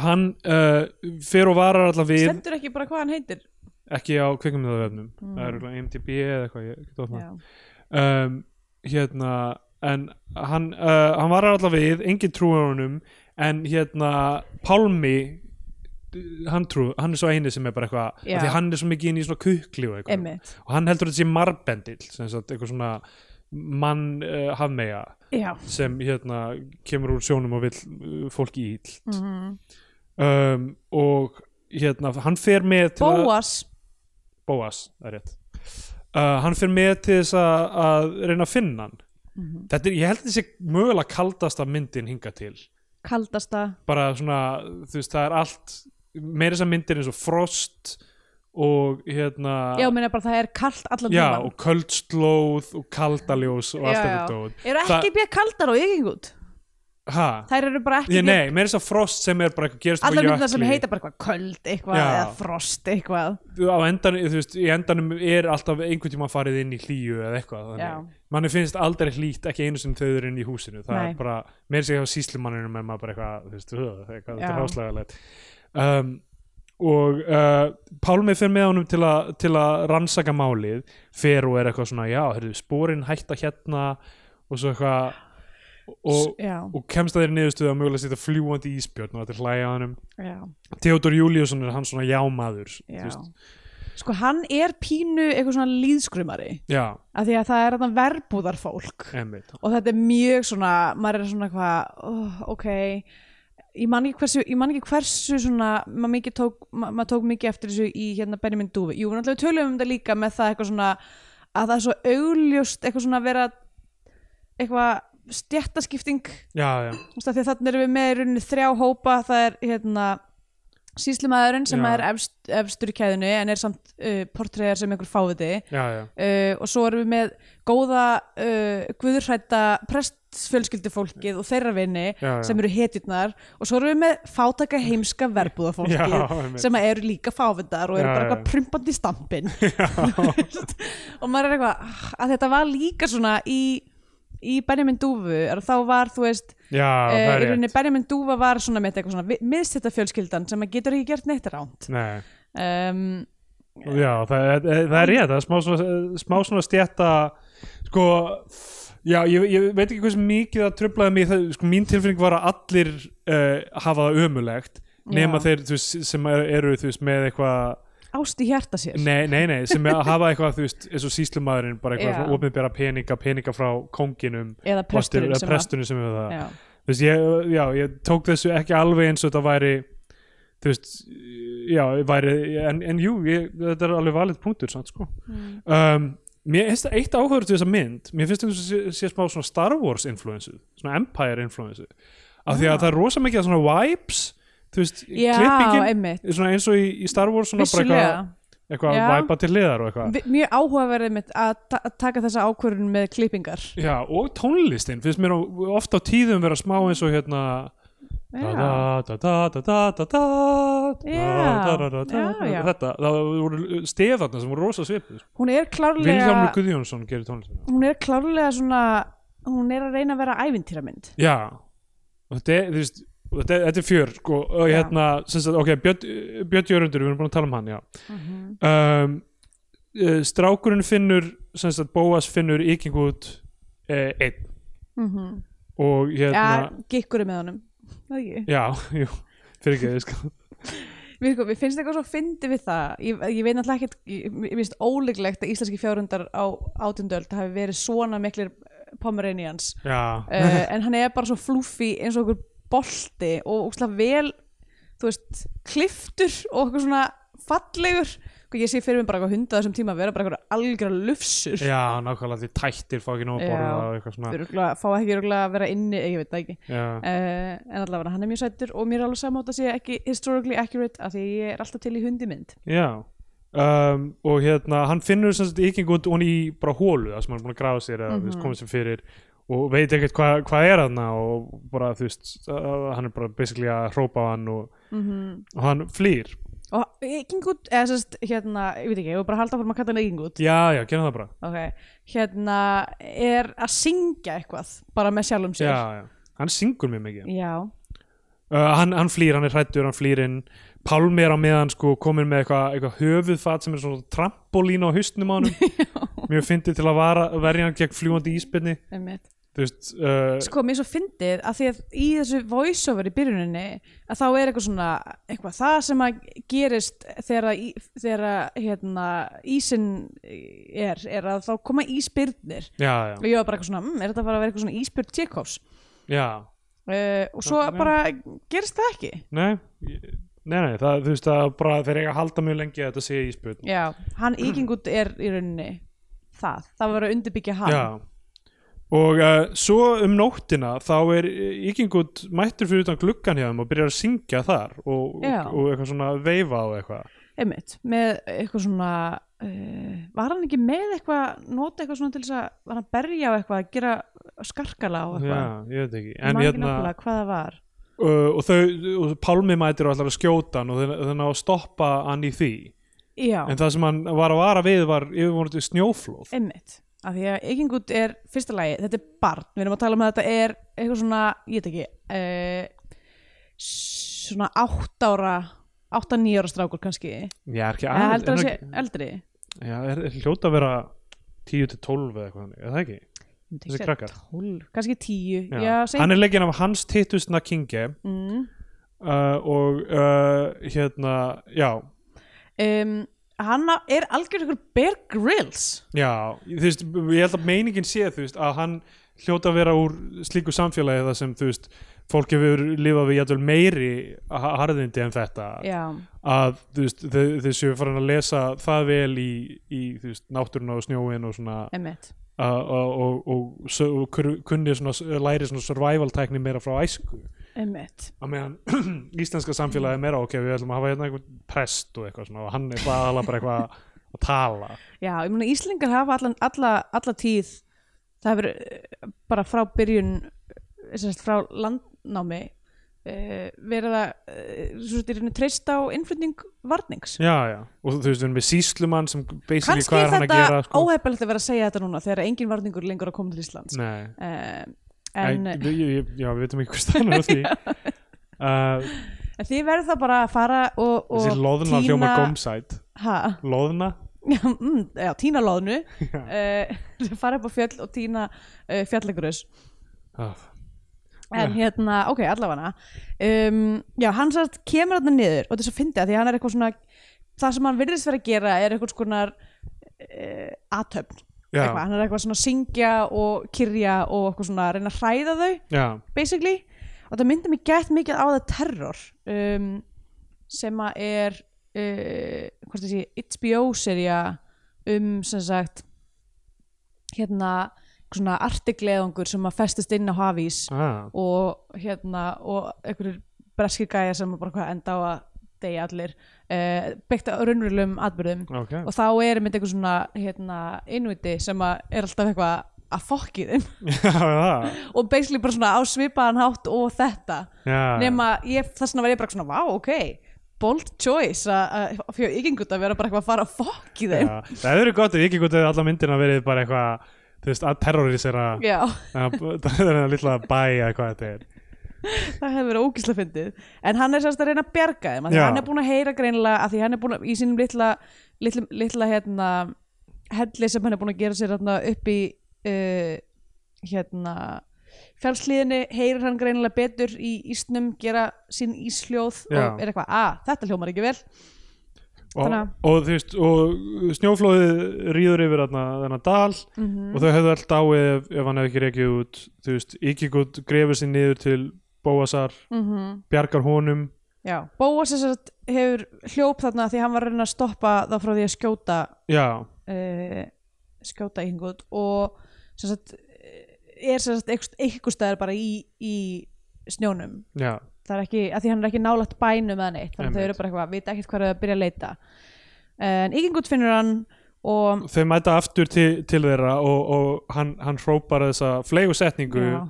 hann uh, fer og varar allar við Stendur ekki bara hvað hann heitir ekki á kvikmyndaðvefnum Mm. það er örugglega IMDb eða eitthvað ég get opnað. Já, um, hérna en hann, uh, hann var allavega við engin trúið honum en hérna Pálmi uh, hann trú, hann er svo eini sem er bara eitthvað af Já. því hann er svo mikið inn í svona kukli og eitthvað emitt og hann heldur að þetta sé marbendill sem sagt eitthvað svona mann uh, hafmeyja Já, sem hérna kemur úr sjónum og vill uh, fólki í ill mm um, og hérna hann fer með til að Bóas Bóas, það er rétt uh, hann fyrir með til þess að, að reyna að finna hann Mhm. þetta er, ég held þessi mögulega kaldasta myndin hinga til Kaldasta, bara svona, þú veist, það er allt meira þess að myndir eins og frost og hérna já, meina bara það er kalt allan já, tímann. og köld slóð og kaldaljós og allt Já, þetta já. dót Eru ekki Það- bjöð kaldar og ykingut? ha, Þær eru bara ekki ég nei, meira þess að frost sem er bara eitthvað gerist Allar upp á myndar sem jökli. heita bara eitthvað köld eitthvað Já. eða frost eitthvað á endanum, þú veist, í endanum er alltaf einhvern tíma farið inn í hlýju eða eitthvað, Já. þannig, manni finnst aldrei hlýtt ekki einu sem þau eru inn í húsinu það Nei. er bara, meira sér hjá síslumanninu með maður bara eitthvað, þú veist, "Ugh", eitthvað þetta Já. er háslegalegt um, og uh, Pálmi fer með honum til, a, til að rannsaka málið fer og er eitthvað svona, já, heyrðu, spórin hætta hérna og svo eitthvað og, Já, og kemst að þeir niðurstuð að mögulega setja fljúandi ísbjörn og þetta er hlæja að honum já, Theodor Júliusson er hann svona jámaður þú já veist. Sko hann er pínu eitthvað svona líðskrumari já, af því að það er þarna verbúðarfólk einmitt og þetta er mjög svona maður er svona hvað, oh, ok ég man ekki hversu, ég man ekki hversu svona, maður mikið tók ma- maður tók mikið eftir þessu í hérna Benjamin Dúfi jú, náttúrulega við tölum um þetta líka með það eitthvað svona að það er svo augljóst eitthvað svona að vera eitthvað stjættaskipting já, já, Þú veist, af því að þannig erum við með í rauninni þrjá hópa það er hérna síslimaðurinn sem Já. er efst, efstur í kæðinu en er samt uh, portræðar sem einhver fáviti já, já, uh, og svo erum við með góða uh, guðurhrætta prestfjölskyldufólkið og þeirra vinni já, já. sem eru hetjurnar og svo erum við með fátaka heimska verbúðafólkið Já, einmitt. sem að eru líka fávindar og Já, eru já. bara eitthvað prumpandi í stampin og maður er eitthvað "Ah," að þetta var líka svona í í Benjamin Dúfu er þá var þú veist já, það Eh, í er rauninni rétt Benjamin Dúfa var svona með eitthvað svona miðstætta fjölskyldan sem að getur ekki gert neitt ránt Nei, um, já, það, er- eh, það er rétt það er smá svona, eh, smá svona stjætta sko já, ég, ég veit ekki hversu mikið það tröflaði mig það, sko, mín tilfinning var að allir uh, hafa það ömulegt nema Já. þeir þú veist, sem eru, eru þú veist, með eitthvað ást í hjarta sér Nei, nei, nei, sem er að hafa eitthvað þú veist, eins og síslumaðurinn, bara Já. eitthvað opinbera peninga, peninga frá konginum eða presturinn eða sem að presturinn sem hefur það já, þú veist, ég, já, ég tók þessu ekki alveg eins og þetta væri þú veist, já, væri en, en jú, ég, þetta er alveg valið punktur samt, sko Mm. um, mér finnst það eitt áhverjur til þessa mynd mér finnst þetta sé, sé smá svona Star Wars influensu, svona Empire influensu af því Já. að það er rosa mikið af svona vibes þú veist, Ah. já klippingin einmitt, svona eins og í, í Star Wars svona bara vissulega eitthvað, eitthvað Já. að væpa til liðar og eitthvað Vi- mjög áhugaverðið mitt að ta að taka þessa ákvörðun með klippingar já, og tónlistin finnst mér ofta á tíðum vera smá eins og hérna já, þetta, það voru stefarna sem voru rosa svipur hún er Vilhjálmur klárlega Guðjónsson gerir tónlistina hún er klárlega svona hún er að reyna að vera ævintýramynd já og þetta er, þú veist, og þetta er, þetta er fjör sko, og Já. hérna, sem sagt, ok, Björn Björn Jörundur, við erum búin að tala um hann, já Mhm. um, eh, strákurinn finnur, sem sagt, Bóas finnur ykingut eh, einn Mhm. og já, hérna, gikkur er með honum Það ekki? já, jú sko. fyrir ekki, ég skal, Mér, sko, mér finnst eitthvað svo fyndi við það ég, ég veit náttúrulega ekkert, ég- mér finnst ólíklegt að íslenski fjárhundar á átundöld hafi verið svona miklir pomeranians já uh, en hann er bara svo flúfi eins og okkur bolti og úkslega vel þú veist, kliftur og okkur svona fallegur hvað ég sé fyrir mig bara eitthvað hunda á þessum tíma að vera bara eitthvað algjör lufsur Já, nákvæmlega því tættir fá ekki nóg að borða Já. og eitthvað svona Örugglega- fá ekki örugglega að vera inni, eh, ég veit það ekki Já, uh, en allavega hann er mjög sættur og mér er alveg samátt að sé ekki historically accurate af því ég er alltaf til í hundimynd já. Um, og hérna, hann finnur sem sagt ykingut hún í bara hólu það sem hann er búin að grafa sér eða mm Mhm. -hmm. komið sér fyrir og veit ekkert hvað hva er hann og bara þú veist, uh, hann er bara basically að hrópa á hann og, Mhm. og hann flýr og Egingut, eða sérst hérna, ég veit ekki, ég var bara að halda fórum að kalla hann Egingut Já, já, gerum það bara ok, hérna er að syngja eitthvað bara með sjálfum sér Já, já, hann syngur mjög mikið Já. uh, hann, hann flýr, hann er hrættur, hann flýr inn Pálmi er á meðan sko komin með eitthvað eitthva höfuðfat sem er svona trampolín á haustnum á hann mjög fyndið til að vara, verja hann gegn fljúandi íspinni einmitt. þú veist, uh, sko, mér er svo fyndið að því að í þessu voiceover í byrjuninni að þá er eitthvað svona, eitthvað það sem að gerist þegar, að í- þegar að, hérna, ísin er, er að þá koma ísbyrnir já, og ég var bara eitthvað svona, mmm, er þetta bara að vera eitthvað svona ísbjörn Tjekovs já já, uh, og svo Nákvæmlega. bara gerist það ekki nei ég- nei, nei, það, þú veist, það er bara þeir eiga að halda mjög lengi að þetta sé íspinn já, hann íkingut er í rauninni það, það var að undirbyggja hann já og uh, svo um nóttina þá er ykingut mættur fyrir utan gluggan hjá þeim og byrjar að syngja þar og, og, Já. og eitthvað svona veifa og eitthvað einmitt, með eitthvað svona uh, var hann ekki með eitthvað nota eitthvað svona til þess að var hann að berja á eitthvað, að gera skarkala á já, eitthvað, ég veit ekki en Ég man ekki hérna, nákvæmlega hvað það var uh, og þau og Pálmi mætir og ætlar að skjóta hann og þau þau ná að stoppa hann í því já, en það sem hann var að vara við var yfirvonandi snjóflóð einmitt af því að Egingut er, fyrsta lagi, þetta er barn við erum að tala um að þetta er eitthvað svona ég veit ekki uh, svona átt ára átta nýjára strákur kannski eða já, er ekki heldur að aðeins sé eldri já, er, er hljóta að vera 10 til 12 eða eitthvað þannig, er það ekki? Ég myndi Þessi ekki segja krakkar. 12, kannski tíu já, segjum hann er leggin af Hans Titus Nakinge mm. uh, og uh, hérna já, um, hann á- er algjör ykkur Bear Grylls já þú veist, ég held að meiningin sé þú veist, að hann hljóta að vera úr slíku samfélagi það sem þú veist fólk hefur lifað við jætul meiri ha- harðindi en þetta já, að þú veist, þau, þau séu farin að lesa það vel í, í þú veist, náttúruna og snjóin og svona að, einmitt að, og, og, og, og kur- kunni svona, læri svona survival tækni meira frá æsku einmitt að meðan íslenska samfélagi er meira ok, við ætlum að hafa hérna einhvern prest og eitthvað svona og hann er bara, alveg bara eitthvað að tala Já, ég meina Íslingar hafa allan, alla, alla tíð það hefur eh, bara frá byrjun eh, sem sagt, frá landnámi uh, verið að uh, svo þetta er henni treyst á innflutning varnings. já, já, og þú veist, við erum með síslumann sem basically Kannski hvað er er hann að þetta gera sko? óhefnilegt að vera að segja þetta núna þegar engin varningur lengur er að koma til Íslands. Nei, Uh, en, en, ég, ég, ég, já, við veitum ekki hvað stannum á því uh, en þið verður það bara að fara og, og þessi loðna tína- hljóma gómsæt Ha? loðna já, mm, já, tína loðnu uh, fara upp á fjöll og tína uh, fjallegröðs Ah, en hérna, ok, allavega um, já, hann sagt kemur hann niður og þess að fyndi að því að hann er eitthvað svona það sem hann virðist vera að gera er eitthvað skonar uh, aðtöfn Já. eitthvað, hann er eitthvað svona að syngja og kyrja og eitthvað svona að reyna að hræða þau já, basically, og það myndi mig gett mikið á það terror um, sem að er uh, hvort þessi HBO-serja um sem sagt hérna eitthvað svona artigleðungur sem að festist inn á hafís ah, og hérna og einhverjir breskir gæja sem bara hvað enda á að deyja allir uh, byggt á raunverulegum atbyrðum ok og þá er mynd eitthvað svona hérna, innviti sem að er alltaf eitthvað að fokki þeim Já, það. og basically bara svona á svipaðan hátt og þetta Já, nema ég, þess vegna var ég bara svona vá ok, bold choice að að- fyrir ykingut að vera bara eitthvað að fara að fokki þeim já. Það hefur verið gott ef ekki gott hefði alla myndina verið bara eitthvað þú veist, að terrorisera já, það er það lilla bæ eða hvað þetta er það hefur verið ógislega fyndið en hann er sérst að reyna að bjarga þeim af því Já. hann er búin að heyra greinilega af því hann er búin að, í sínum litla litla, litla hérna, helli sem hann er búin að gera sér hérna, upp í uh, hérna fjálsliðinni, heyrir hann greinilega betur í ísnum, gera sín ísljóð Já. og er eitthvað, að þetta hljómar ekki vel og, Þannig að- og þú veist, og snjóflóðið rýður yfir þarna þennan dal Mhm. og þau hefðu alltaf dáið ef, ef hann hefði ekki rekið út þú veist, ekki gott grefur sér niður til Bóasar, mm -hmm. bjargar honum já, Bóas þess að hefur hljóp þarna því hann var að reyna að stoppa þá frá því að skjóta já, uh, skjóta einhvern og sem sagt, eh, er sem sagt eitthvað stæðar bara í, í snjónum já, það er ekki, að því hann er ekki nálægt bænum eða neitt, þannig að Einmitt. þau eru bara eitthvað, vita ekkert hvað er að byrja að leita en Ígengut finnur hann og þau mæta aftur til, til þeirra og, og hann, hann hrópar þessa flegu setningu já,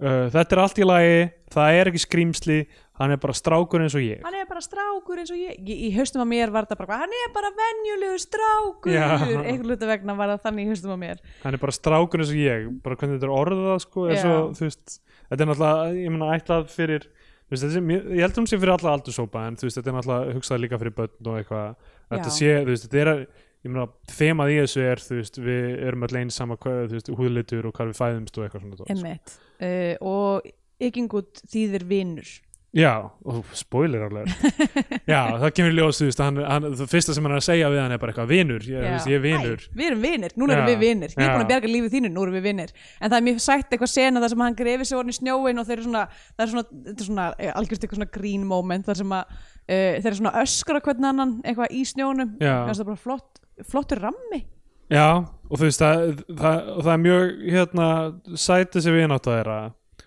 uh, þetta er allt í lagi, það er ekki skrýmsli hann er bara strákur eins og ég hann er bara strákur eins og ég í, í haustum að mér var þetta bara eitthvað, hann er bara venjulegu strákur Já. einhver hluta vegna var það þannig í haustum að mér hann er bara strákur eins og ég bara hvernig þetta er orðað sko, er Já. svo, þú veist, þetta er náttúrulega ég meina ætlað fyrir þú veist, þetta er, mér- ég held að hún sé fyrir alla aldursópa en þú veist, þetta er náttúrulega hugsað líka fyrir börn og eitthvað þetta Já. sé, þú veist, þetta er að- ég meina, þemað í þessu er, þú veist, við erum allir eins sama, hvað, þú veist, húðlitur og hvað við fæðumst og eitthvað svona dót, sko. einmitt uh, og Ígengut þýðir vinnur Já, ó, spoiler alert Já, það kemur í ljós, þú veist hann, hann, Það fyrsta sem hann er að segja við hann er bara eitthvað vinur, ég, þú veist, ég er vinur Æ, við erum vinir, núna erum Já. við vinir Ég er búin að Já. bjarga lífið þínu, nú erum við vinir En það er mjög sætt eitthvað sena þar sem hann grefi sig orðin í snjóin og þeir eru svona, það er svona, þetta er svona eh, algjörst eitthvað svona green moment þar sem að uh, þeir eru svona öskra hvernig annan eitthvað í snjónum Já. Mér finnst það bara flott, flottur rammi Já, og þú veist, það, það, og það er mjög hérna, sæti sem við erum átt að þeirra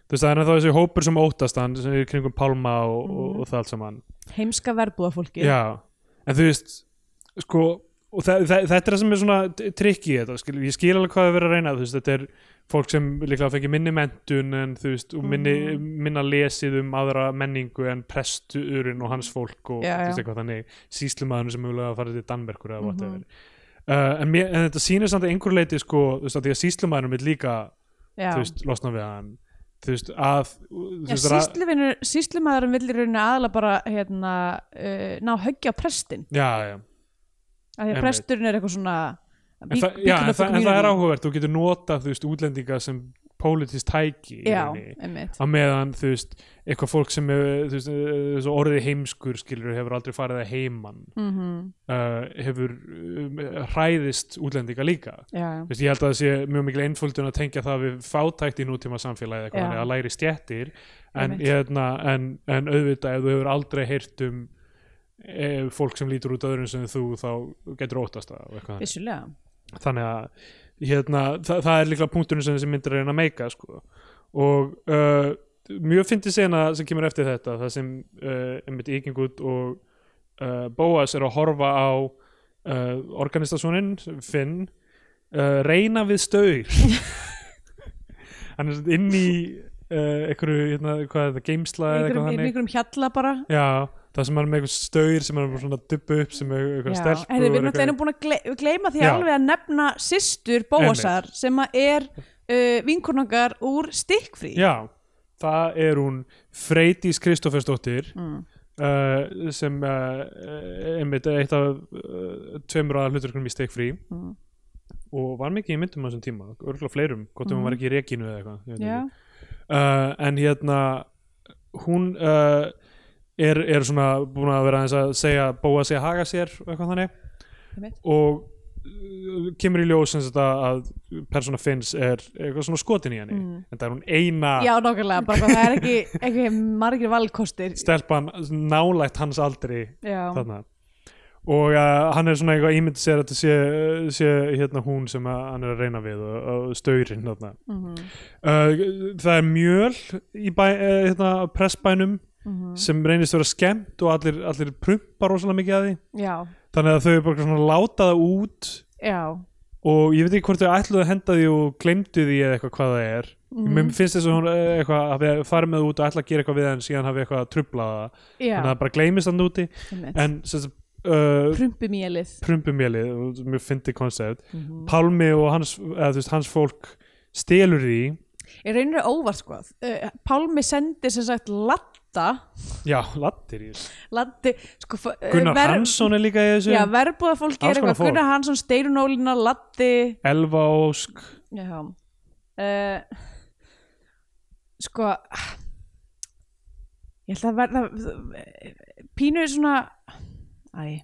Þú veist, það er ennþá þessi hópur sem óttast hann sem er í kringum Pálma og, og, og það allt saman Heimska verbúða fólki Já, en þú veist sko, og þa þa þetta er það sem er svona t- trikk í þetta, skil, ég skil alveg hvað það verið að reyna þú veist, þetta er fólk sem líklega fengi minni mentun en þú veist, og minni, Mm. minna lesið um aðra menningu en presturinn og hans fólk og Já, þú veist já. Mhm. eitthvað þannig, síslumaðurinn sem mjögulega að fara til Danmerkur eða whatever uh, en, mér, en þetta sýnir samt að einhver leiti sko, þú veist, að því að síslumaðurinn vil líka Já. þú veist, losna við hann þú veist, að þú Já, veist, að- sýsluvinur, sýslumaðurinn vill í rauninni aðla bara hérna, uh, ná höggja á prestin já, já af því að Einmitt. presturinn er eitthvað svona en, þa já, big- big en, enough þa en það er community. áhugavert, þú getur notað þú veist, útlendinga sem politist tæki í rauninni. Já, einmitt á meðan þú veist, eitthvað fólk sem hefur, þú veist, eh, svo orðið heimskur skilur hefur aldrei farið að heiman mm uh, hefur um, hræðist útlendinga líka Já, Þú veist, ég held að það sé mjög mikil einföldun að tengja það við fátækt í nútíma samfélagi Já. eitthvað, þannig að læri stjættir en, Einmitt. hérna, en, en auðvitað ef þú hefur aldrei heyrt um e, fólk sem lítur út öðrum sem þú þá getur óttast það og eitthvað þannig vissulega þannig að hérna, þa það er líklega punkturinn sem þessi myndir reyna að meika sko. og uh, mjög fyndi sena sem kemur eftir þetta það sem uh, einmitt Íkingut og uh, Bóas eru að horfa á uh, organistasónin Finn uh, reyna við staur hann er inn í uh, einhverju, hérna, hvað er það, geimsla eða einhverjum, eitthvað í þannig einhverjum hjalla bara já, það sem hann er með einhver staur sem hann er bara svona að dubba upp sem er eitthvað stelpur Herri, við og erum eitthvað- alltaf búin að gle gleyma því Já. alveg að nefna systur Bóasar sem að er uh, vinkonungar úr stikkfrí Já, það er hún Freydís Kristoffersdóttir mm. uh, sem uh, einmitt er eitt af uh, tveimur að hluturkunum í stekfrí Mm. og var mikið í myndum á þessum tíma, örgulega fleirum gott ef Mhm. hún var ekki í rekinu eða eitthvað ég veit Já. ekki. uh, en hérna hún uh, er, er svona búin að vera aðeins að segja bóa sig að haga sér og eitthvað þannig Einmitt. og uh, kemur í ljós sem þetta að persóna finns er eitthvað svona skotin í henni Mm. en það er hún eina Já, nákvæmlega, bara hvað það er ekki, ekki margir valkostir stelpan nálægt hans aldri Já, þarna og uh, hann er svona eitthvað ímynd sér að þetta sé, sé hérna hún sem að, hann er að reyna við og, og staurinn þarna mm -hmm. uh, það er mjöl í bæ, uh, hérna, pressbænum sem reynist að vera skemmt og allir, allir prumpar rosalega mikið að því já, þannig að þau er bara svona láta það út já og ég veit ekki hvort þau ætluðu að henda því og glemdu því eða eitthvað hvað það er mér finnst þess að hún eh, eitthvað hafi farið með það út og ætla að gera eitthvað við hann síðan hafi eitthvað að trubla það já, þannig að það bara gleymist hann úti einmitt en sem sagt, uh, Prumpumélið prumpumélið, og mjög fyndi koncept mm -hmm. Pálmi og hans, eða, þú veist, hans fólk stelur því Ég reynir óvart sko uh, Pálmi sendi sem sagt Latta já, lattir í þessu. Latti, sko, f- eh, Gunnar ver- Hansson er líka í þessu Já, verbúða fólk er Alls konar eitthvað fólk. Gunnar Hansson, Steirun Ólína, Latti Elva Ósk Já uh, Sko Ég ætla að verða Pínu er svona Æ, ég,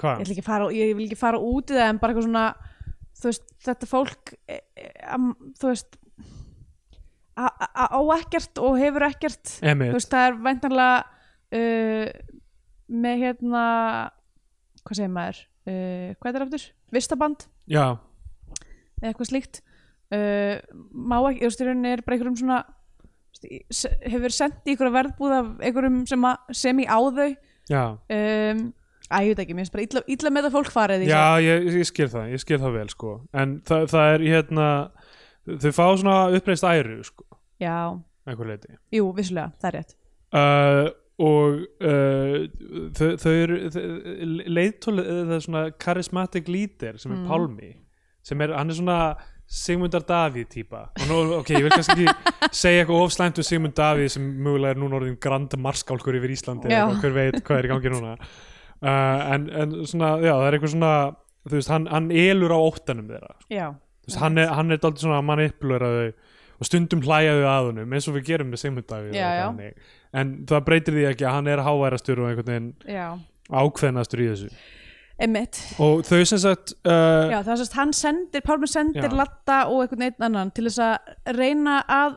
hvað? ætla ekki að fara, ég vil ekki fara út í það en bara eitthvað svona þú veist, þetta fólk eh, eh, am, þú veist á- á á ekkert og hefur ekkert Emmett, þú veist, það er væntanlega uh, með hérna hvað segir maður, uh, hvað er það aftur vistaband já, eða eitthvað slíkt uh, má ekki, þú veist, í rauninni er bara einhverjum svona þú veist, í- se- hefur verið sendt í einhverja verðbúð af einhverjum sem, að, sem í á þau já um, æ, ég veit ekki, mér finnst bara illa, illa með að fólk farið í Já, ég, ég skil það, ég skil það vel sko en það, það er hérna þau fá svona uppreist æru sko það. já, einhver leiti jú, vissulega, það er rétt uh, og uh, þau, þau eru þau- leiðtóli, það er svona charismatic leader sem er Mm. Pálmi sem er, hann er svona Sigmundar Davíð típa og nú, ok, ég vil kannski ekki segja eitthvað ofslæmt um Sigmund Davíð sem mögulega er núna orðin grand marskálkur yfir Íslandi eða Já. eitthvað, hver veit hvað er í gangi núna uh, en, en svona, já, það er eitthvað svona þú veist, hann, hann elur á óttanum þeirra já, Þú veist, hann er, hann er daldið svona að mann upplöra þau og stundum hlæja þau að honum eins og við gerum með Sigmundavíð Já, já. en það breytir því ekki að hann er háværastur og einhvern veginn já, ákveðnastur í þessu emmitt og þau sem sagt uh, já, það er sérst, hann sendir, Pálmi sendir Já. Latta og einhvern einn annan til þess að reyna að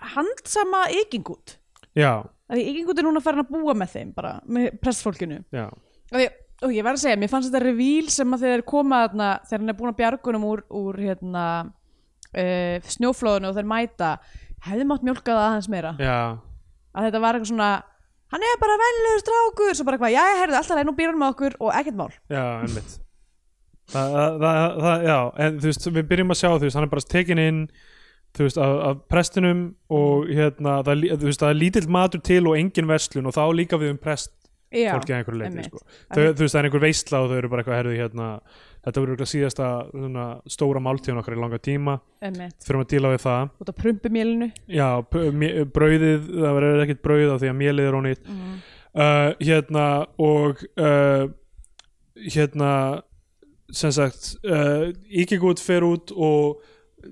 handsama ykingut já, að því ykingut er núna farin að búa með þeim bara, með pressfólkinu já, og ég, og ég var að segja, mér fannst þetta revíl sem að þeir koma þarna, þegar hann er búin að bjargunum úr, úr hérna uh, snjóflóðinu og þeir mæta hefði mátt mjólka það aðeins meira já, að þetta var eitthvað svona hann er bara venlegur strákur svo bara eitthvað, já, herðu, alltaf leið nú býr hann með okkur og ekkert mál já, einmitt það, það, það, það, já, en þú veist við byrjum að sjá, þú veist, hann er bara tekin inn þú veist, af, af prestinum og hérna, það, er lí- þú veist, það er lítill matur til og engin verslun og þá líka við um prest já, fólkið að einhverju leiti einmitt. sko. þau, þú veist það er einhver veistla og þau eru bara eitthvað herðu hérna þetta verður eitthvað síðasta svona, stóra máltíðan okkar í langa tíma emmitt, þurfum að díla við það út af prumpumélinu já, p- mj- brauðið, það verður ekkert brauð af því að mjölið er ónýtt Mhm. uh, hérna og uh, hérna sem sagt uh, Íkigút fer út og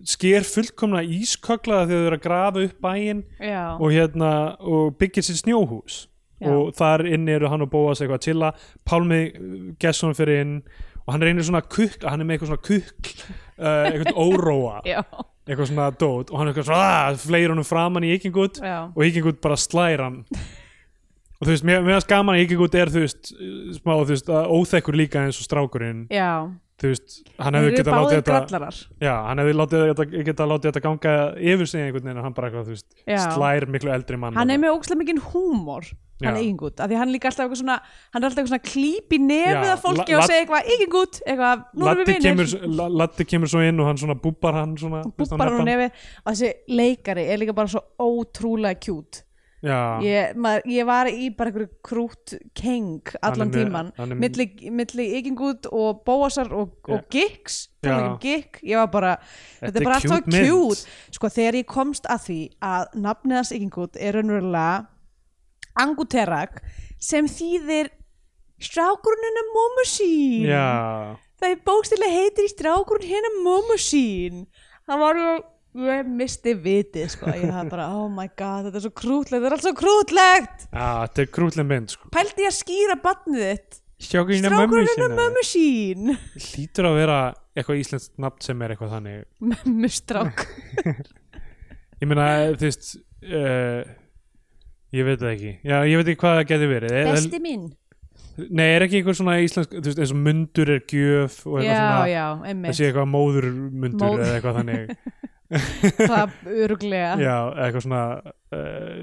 sker fullkomna ískökla þegar þau eru að grafa upp bæinn já, og hérna og byggir sér snjóhús Já. og þar inni eru hann og Bóas eitthvað að chilla Pálmi Gesson fyrir inn og hann reynir svona kukk hann er með eitthvað svona kukk uh, eitthvað óróa, já, eitthvað svona dót og hann er eitthvað svona, "Ah", fleir honum framan í ykingut já, og ykingut bara slær hann og þú veist, mér mér finnst gaman að ykingut er þú veist, smá þú veist, að óþekkur líka eins og strákurinn já þú veist, hann þeir hefði eru getað látið báðir þetta grallarar já, hann hefði látið þetta- getað látið þetta ganga yfir sig einhvern veginn en hann bara eitthvað, þú veist, Já. slær miklu eldri mann hann þarna. er með ógstlega mikinn húmor Já. hann eigingut, af því hann er líka alltaf eitthvað svona hann er alltaf eitthvað svona klíp í nefið Já, að fólki la- og la- segja eitthvað eigingut, eitthvað, nú erum Latti við kemur, vinir La- Latti kemur svo inn og hann svona búbar hann svona þú veist, búpar hann úr hefði hann- nefið og þessi leikari er líka bara svo ótrúlega kjút Já, ég, maður, ég var í bara einhverju krút keng allan Hann er með- tíman hann er með- milli, milli ykingut og bóasar og, og gigs Já. um gig, ég var bara þetta, er er bara allt svo cute mynd. kjút sko þegar ég komst að því að nafnið hans ykingut er raunverulega anguterak sem þýðir strákurinn hennar mómu sín já, það er bókstilega heitir í strákurinn hérna, hennar mómu sín það var ég ég misti vitið sko, ég hafði bara oh my god, þetta er svo krútlegt, þetta er allt svo krútlegt já, þetta er krútlega mynd sko. pældi ég að skýra barnið þitt Strákurinn er mömmu strákurinn hérna, er sinna mömmu sín Lítur að vera eitthvað íslenskt nafn sem er eitthvað þannig mömmu strák Ég Ah. meina, þú veist uh, Ég veit það ekki Já, ég veit ekki hvað það geti verið er, er, minn Nei, er ekki einhver svona íslensk þú veist, eins og mundur er gjöf og eitthvað já, svona já, Það emmitt sé eitthvað móður mundur Móð- eða eitthvað þannig það öruglega Já, eitthvað svona uh,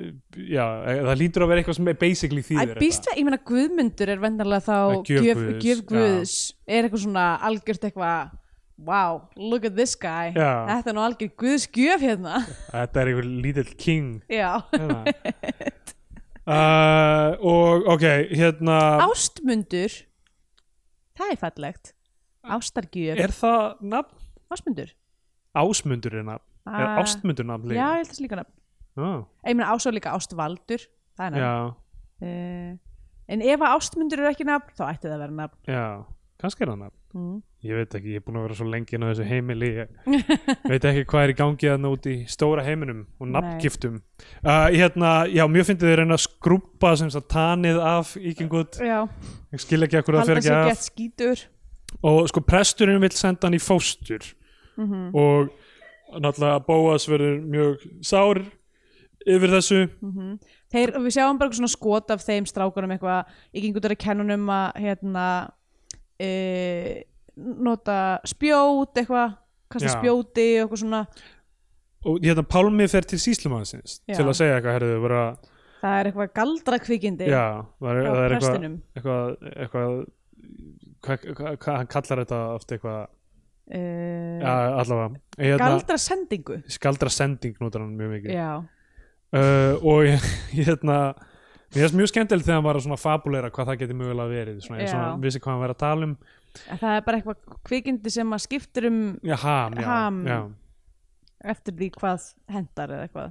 Já, það lítur að vera eitthvað sem basically þýðir Æ, býst við, ég meina guðmundur er vendarlega þá Að gjöf gjöf Guðs, gjöf já. guðs er eitthvað svona algjört eitthvað wow, look at this guy Já. þetta er nú algjör guðs gjöf hérna Þetta er einhver lítill king já, Hérna. uh, og ok, hérna ástmundur það er fallegt ástargjöf, Ah. er það nafn? ástmundur Ásmundur er nafn, er Ah. ástmundur nafn já, líka? ég held þessi líka nafn Ah, Ég meina ásá líka ástvaldur Það er nafn já, uh, En ef að ástmundur er ekki nafn þá ætti það að vera nafn já, kannski er það nafn mm. ég veit ekki, ég er búin að vera svo lengi inn á þessu heimili ég veit ekki hvað er í gangi þarna út í stóra heiminum og nafngiftum uh, hérna, já, mjög fyndið þið reyna að skrúpa sem sagt tanið af íkengut Já, ég skil ekki akkur það halda fer ekki sér af gett skítur og sko presturinn vill senda hann í fóstur Mhm. og náttúrulega Bóas verður mjög sár yfir þessu mm þeir, við sjáum bara eitthvað svona skot af þeim strákunum eitthvað, ég geng út af kennunum að hérna e, nota spjót eitthvað, kasta Já. spjóti og eitthvað svona, og hérna Pálmi fer til síslumannsins Já. til að segja eitthvað, herðu, bara það er eitthvað galdra kvikindi já, var, það frá er eitthvað prestinum eitthvað, eitthvað hvað hva, hva, hann kallar þetta oft eitthvað e, ja, allavega, hérna, galdra sendingu skaldra sending notar hann mjög mikið já, uh, og ég- hérna mér finnst mjög skemmtilegt þegar hann var að svona fabulera hvað það geti mögulega verið svona, eins og Já. hann vissi hvað hann verið að tala um En það er bara eitthvað kvikindi sem að skiptir um já, ham, já, Ham. já. eftir því hvað hendar eða eitthvað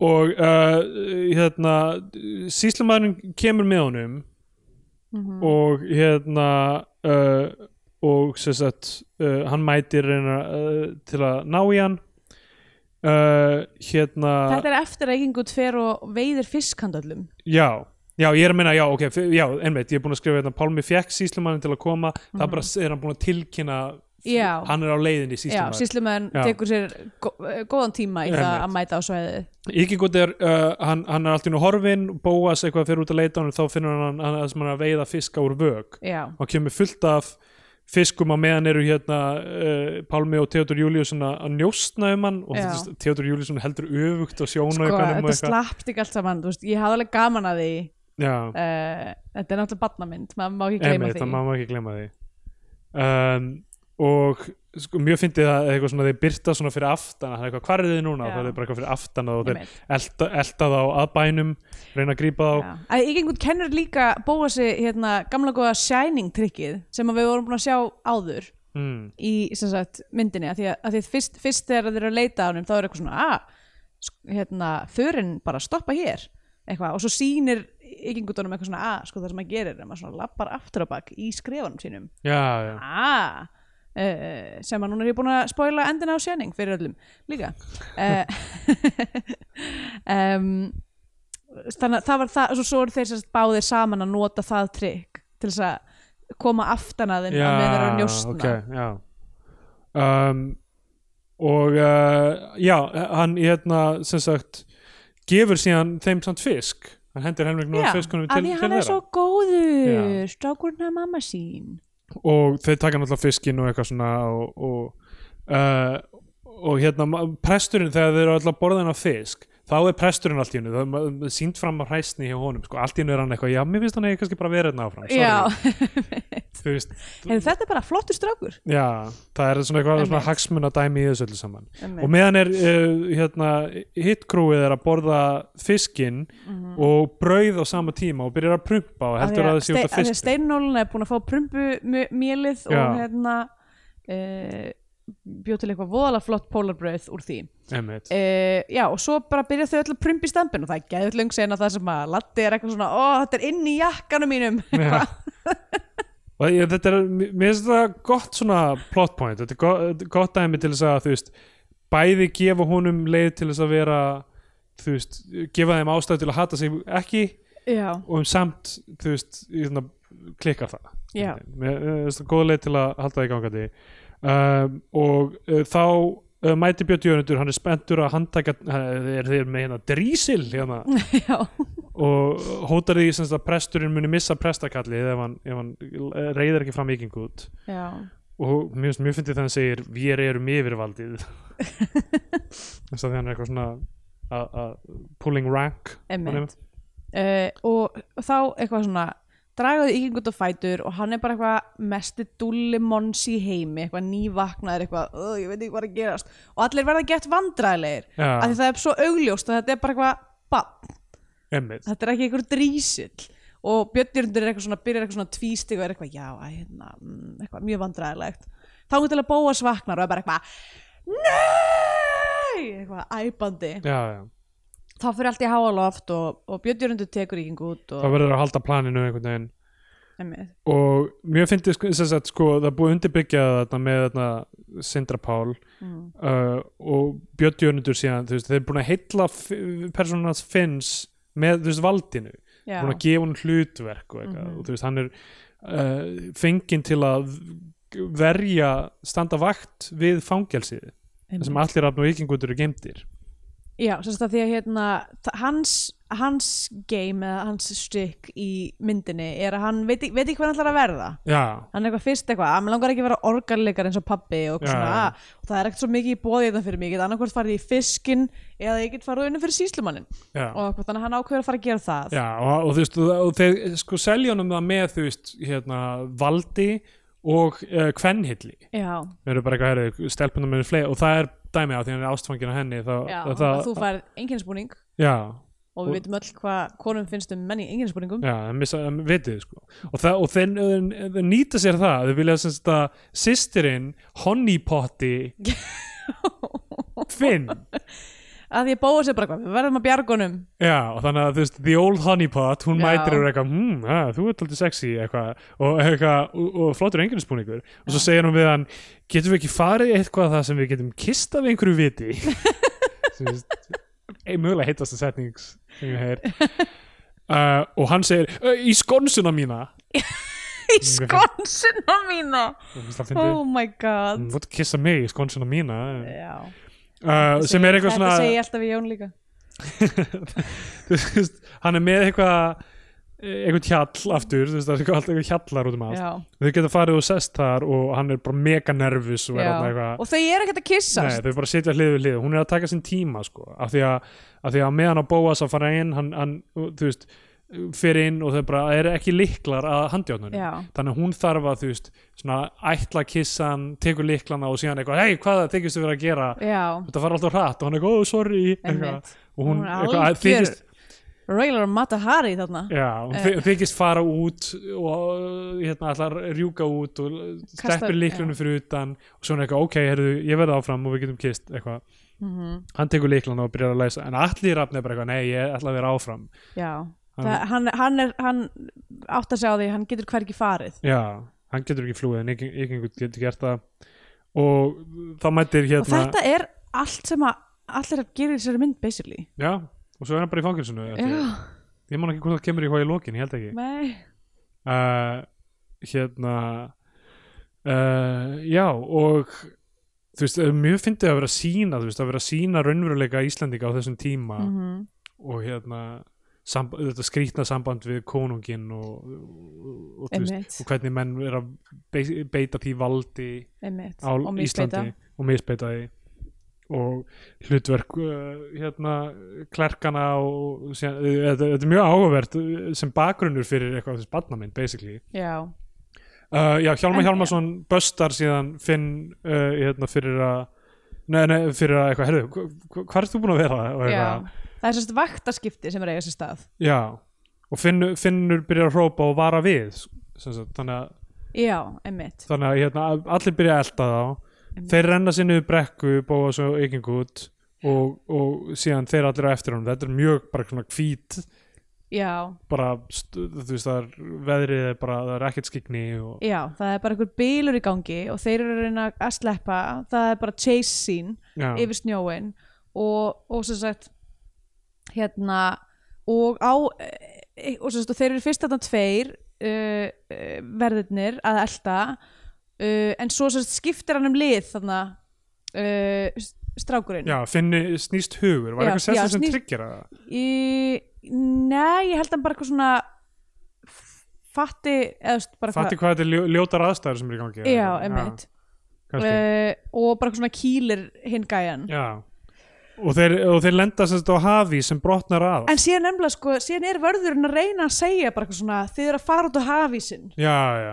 og uh, hérna síslumæðurinn kemur með honum Mhm. og hérna uh, og sem sagt uh, hann mætir reyna uh, til að ná í hann uh, hérna Þetta er eftir að Egingut fer og veiðir fiskhandöllum Já, já, ég er að minna, já, ok, f- já, einmitt, ég er búin að skrifa hérna, Pálmi fekk síslumannin til að koma, það bara s- er hann búin að tilkynna, Mhm. Já. hann er á leiðinni Já, síslumann. síslumæðan Já. tekur sér gó góðan tíma í það Einmitt. að mæta á svæðið Íkikot er, uh, hann, hann er allt í nú horfin, Bóas eitthvað fyrir út að leita hann, þá finnur hann, hann, hann, hann er að veiða fiska úr vög. Já, Hann kemur fullt af fiskum á meðan eru hérna uh, Pálmi og Theodor Júliusson að að njósna um hann og Já. þetta- Theodor Júliusson heldur öfugt og sko, sjóna um þetta slappt ekki allt saman þú veist, Ég hafði alveg gaman að því Já, uh, Þetta er náttúrulega barnamynd, maður má ekki gleyma Einmitt, því það má maður ekki gleyma því um, og sko, mjög fyndið að eitthvað svona þeir byrta svona fyrir aftan það er eitthvað hvar er þið núna Já. það er bara eitthvað fyrir aftan og þeir Einmitt, elda, elda þá að bænum reyna að grípa þá já. Að Egingut kennur líka bóa sig hérna, gamla góða Shining trikkið sem að við vorum búin að sjá áður mm, í sem sagt, myndinni að því að, að því að fyrst, fyrst þegar þeir eru að leita á honum þá er eitthvað svona að hérna, förin bara stoppa hér eitthvað, og svo sýnir ykkingutunum eitthvað svona að sko það sem að gerir er að maður svona lappar aftur á bak í skrefunum sínum já, já, að Uh, sem að núna er ég búin að spoila endina á sjöning fyrir öllum líka uh, um, þannig að það var það svo, svo eru þeir sérst báðir saman að nota það trikk til þess að koma aftan að þeim já að með þeirra njóstna ok, já um, og uh, já, hann hérna sem sagt gefur síðan þeim samt fisk hann hendir helmingnum Já, af fiskunum af til, því til hann er þeirra svo góður strákurinn að mamma sín og þeir taka náttúrulega fiskinn og eitthvað svona og, og, uh, og hérna ma- presturinn þegar þeir eru alltaf borðin af fisk þá er presturinn allt í hennu, það er sínt fram á hræstni hjá honum, sko, allt í hennu er hann eitthvað já, mér finnst hann ekki kannski bara verið hérna áfram sorry." Já, þú veist, en þetta er bara flottur strákur já, það er svona eitthvað svona Einmitt. hagsmuna dæmi í þessu öllu saman Einmitt. og meðan er uh, hérna, hitkrúið er að borða fiskinn og brauð á sama tíma og byrjar að prumpa og heldur að það sé út af Þegar fisk steinólin er búin að fá prumbumélið Já. og hérna e, bjóð til eitthvað voðalega flott polarbröð úr því einmitt, e, Já, og svo bara byrja þau öll að prumpa í stambin og það er geðut löng sen að það sem að Latti er eitthvað svona, ó, þetta er inn í jakkanum mínum Já. og ég, þetta er, mér mér finnst þetta gott svona plot point, þetta er gott, þetta er gott dæmi til þess að þú veist, bæði gefa honum leið til þess að vera þú veist, gefa þeim ástæð til að hata sig ekki Já, og um samt þú veist, í svona, klikka það Já. mér mér finnst það góð leið til að halda það í gangandi um, og uh, þá uh, mæti Björn Jörnundur, hann er spenntur að handtaka, uh, er þeir með hérna drísil hérna já, og hótar því sem sagt að presturinn muni missa prestakallið ef hann, ef hann reyðir ekki fram viking út já og mjög, mjög fyndi þannig segir við erum yfirvaldið þess að því hann er eitthvað svona a, a, pulling rank honum. Emmett uh, og þá eitthvað svona dragaði ykingut á fætur og hann er bara eitthvað mesti dulli mons í heimi eitthvað nývaknaður eitthvað "Ugh, ég veit ekki hvað er að gerast og allir verða gett vandræðilegir Já. af því það er svo augljóst að þetta er bara eitthvað bann, Einmitt. þetta er ekki einhver drísill og Björnjörndur er eitthvað svona byrjar eitthvað svona tvístig og er eitthvað já, æ, hérna, mm, eitthvað mjög vandræðilegt þá er til að bóa svaknar og er bara eitthvað nei eitthvað æpandi já, já. þá fyrir allt í háaloft og, og bjöndjörundu tekur ekki út það og, verður að halda planinu einhvern veginn einmitt, og mjög fyndi sko, sem sagt, sko, það er búið að undirbyggja þarna með þarna, Sindra Pál Mm. uh, og Björn Jörnundur síðan þú veist, þeir eru búin að heilla personas Finns með þú veist, valdinu já, búin að gefa hann hlutverk og, mm Mhm. og þú veist, hann er uh, fenginn til að verja standa vakt við fangelsið þar sem einmitt. allir afn og ykingundur eru geimdir Já, sem sagt að því að hérna, þa- hans, hans game eða hans stykk í myndinni er að hann veit, í- veit ekki hvað hann ætlar að verða já, hann er eitthvað fyrst eitthvað, að mér langar ekki að vera orgarleikar eins og pabbi og Já, eitthvað svona já. að, og það er ekkert svo mikið í bóði þetta fyrir mig ég get annarkvort farið í fiskin eða ég get farið unum fyrir síslumannin já. og eitthvað, þannig að hann ákveður að fara að gera það Já, og, og þú veist, og, og þeir sko selja honum það með, þú veist, hérna, valdi og uh, kvenhilli. já, Þeir eru bara eitthvað, herri, stelpunum eru fleiri og það er dæmi á því hann er ástfangin á henni. Þá, já það, þannig að þú færð enginnsbúning Já, og við Og- veitum öll hvað konum finnst um menn í enginnsbúningum já, það missa, það vitið, sko. Og, það, og þeir, þeir, þeir nýta sér það, þeir vilja sem þetta sýstirinn, honeypotti, Finn. að því að bóða sér bara eitthvað, við verðum að bjargunum Já, og þannig að þú veist, the old honeypot, hún Já. mætir og er eitthvað, hmm, að, þú ert alltaf sexy eitthvað, og, eitthvað, og, og flottur enginnispúningur. Og svo segir hún við hann, getum við ekki farið eitthvað það sem við getum kist af einhverju viti? Sem þú veist, ein mögulega heitast að setning sem ég heyr. Uh, og hann segir, "Ö, í skonsuna mína. í skonsuna mína Þú veist, það fyndi, oh my god hún fótt að kissa mig í skonsuna mína. já Uh, Mm. sem er eitthvað svona... Þetta segi ég alltaf í Jón líka þú veist, hann er með eitthvað eitthvað hjall aftur þú veist, það er eitthvað- alltaf eitthvað hjallar út um allt Já. þau geta farið og sest þar og hann er bara mega nervus og er Já. alltaf eitthvað Og þau eru ekkert að Nei, kyssast þau bara sitja hlið við hlið, hún er að taka sinn tíma sko, af því að, af því að meðan að Bóas að fara inn, hann, hann þú veist, fer inn og þau bara er ekki liklar að handjárnunum, Já. þannig að hún þarf að, þú veist, svona ætla kissan, tekur liklana og síðan eitthvað, hei, hvað þykistu verið að gera Já, þetta fara alltaf hratt og hann er eitthvað, oh, sorry eitthvað, Einmitt. og hún, Hún er eitthvað, algjör- þykist Raylar Matahari þarna Já, hún Eh. þy- þykist fara út og hérna allar rjúka út og Kasta- steppir líklunum fyrir utan og svona eitthvað, ok, heyrðu, ég verði áfram og við getum kist eitthvað. Mhm. Hann tekur líklunum og byrjar að læsa, en allir rafn er bara eitthvað, nei, ég ætla að vera áfram. Já, Hann- Það, hann, hann, er, hann átt að segja á því Hann getur hvergi farið Já, hann getur ekki flúið, en ykkur getur gert það og þá mættir Og hérna, þetta er allt sem að allir að gera í þessari mynd basically já, og svo er hann bara í fangilsinu. Ég, Já, ég man ekki hvort það kemur í hvað í lokin, ég held ekki. nei uh, hérna uh, já og þú veist, það er mjög fyndið að vera að sína þú veist, að vera að sína raunveruleika Íslandinga á þessum tíma Mhm. og hérna samba, þetta skrýtna samband við konungin og, og, og, þú Einmitt. veist, og hvernig menn er að bei- beita því valdi Einmitt, á og misbeita. Íslandi og misbeita því og hlutverk uh, hérna klerkana og síðan, eh, þetta, þetta er mjög áhugavert uh, sem bakgrunnur fyrir eitthvað þessi badnamynd basically Já, uh, já, Hjálmar En- Hjálmarsson böstar síðan Finn uh, hérna, fyrir að Nei, nei, fyrir að eitthvað, herðu, hva- hva- hvað ert þú búin að vera? Og já eitthvað, Það er sérst vaktaskipti sem er að eiga sér stað já. Og Finn, Finnur byrjar að hrópa og vara við, sem sagt, þannig að Já, emmitt þannig að hérna, allir byrja að elda þá þeir renna sinni upp brekku bóða svo yking út og, og síðan þeir allir á eftir honum þetta er mjög bara svona hvít Já, bara, stu, þú veist, það er veðrið er bara, það er ekkert skikni og, já, það er bara einhver bílur í gangi og þeir eru að reyna að sleppa það er bara chase scene já, yfir snjóin og, og sem sagt hérna og á eh, og, sem sagt, og þeir eru fyrst þarna tveir uh, verðirnir að elta uh, en svo sem sagt, skiptir hann um lið þarna uh, strákurinn já, finni snýst hugur var Já, eitthvað já, sérstaklega sem snýst- tryggir það Í, nei, ég held hann bara eitthvað svona f- fatti eða þú veist, bara fatti hvað þetta er ljó, ljótar aðstæður sem er í gangi já, emmitt kannski. uh, og bara eitthvað svona kýlir hinn gæjan já. Og, þeir, og þeir lenda sem þetta á hafi sem brotnar að En síðan nefnilega sko, síðan er vörðurinn að reyna að segja bara eitthvað svona, þið eru að fara út á hafísinn. já, já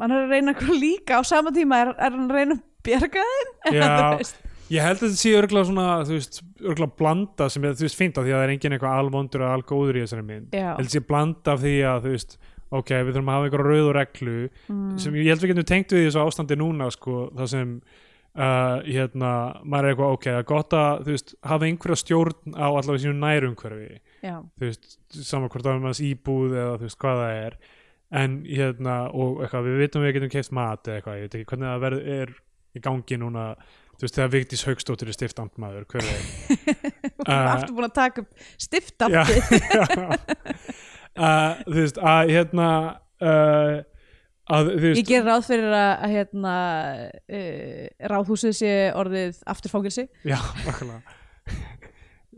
Hann er að reyna eitthvað líka á sama tíma, er, er hann að reyna að bjarga þeim? Já, Þú veist. ég held að þetta sé örgla svona, þú veist, örgla blanda sem er, þú veist, fínt af því að það er engin eitthvað alvondur eða algóður í þessari mynd. Já. Ég held að sé blanda af því að, þú veist, ok, við þurfum að hafa einhverja rauður reglu Mm. sem ég held við getum tengt við í þessu ástandi núna, sko, það sem, uh, hérna, maður er eitthvað, ok, það er gott að, þú veist, hafa einhverja stjórn á allavega sínu nærumhverfi Já, þú veist, saman hvort það er maður íbúð eða þú veist hvað það er en hérna, og eitthvað, við vitum við getum keft mat eða eitthvað, ég veit ekki hvernig það verð, er í gangi núna, þú veist, þegar Vigdís Haugsdóttir er stiftamtmaður, hver er hún er aftur búin að taka upp Eh. já, stiftamtið. já. Uh, þú veist, að hérna uh, að þú Ég veist ger ráð fyrir að, að hérna, eh, uh, ráðhúsið sé orðið aftur fangilsi. já, okkurlega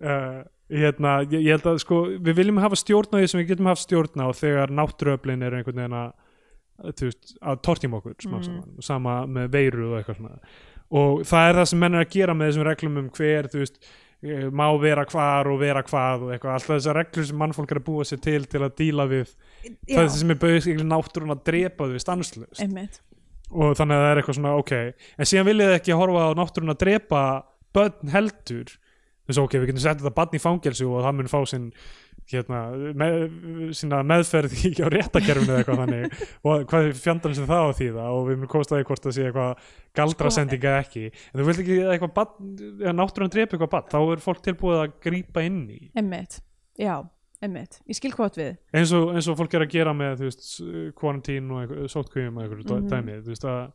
uh, hérna, ég, ég held að sko, við viljum hafa stjórn á því sem við getum haft stjórn á þegar náttúruöflin eru einhvern veginn að, þú veist, að tortíma okkur smám Mm. saman, sama með veiru og eitthvað svona og það er það sem menn er að gera með þessum reglum um hver, þú veist eh, má vera hvar og vera hvað og eitthvað alltaf þessar reglur sem mannfólk er að búa sér til til að díla við Já, það sem er bauðs náttúrun að drepa þau stanslust einmitt og þannig að það er eitthvað svona ok en síðan viljið þið ekki horfa á náttúrun að drepa börn heldur þess að ok, við getum sett þetta barn í fangelsu og það mun fá sinn hérna, með, sína meðferð í á réttakerfinu eða eitthvað þannig og hvað fjandarn sem það á því það og við mun komast að því hvort það sé eitthvað galdrasending eða ekki en þú vilt ekki að eitthvað barn, ef náttúrun drepa eitthvað barn þá er fólk tilbúið að grípa inn í einmitt, já, einmitt ég skil hvað þú átt við eins og, eins og fólk er að gera með þú veist, kvarantín og einhver- sóttkvíum og einhverju mm Mhm. dæmi þú veist, að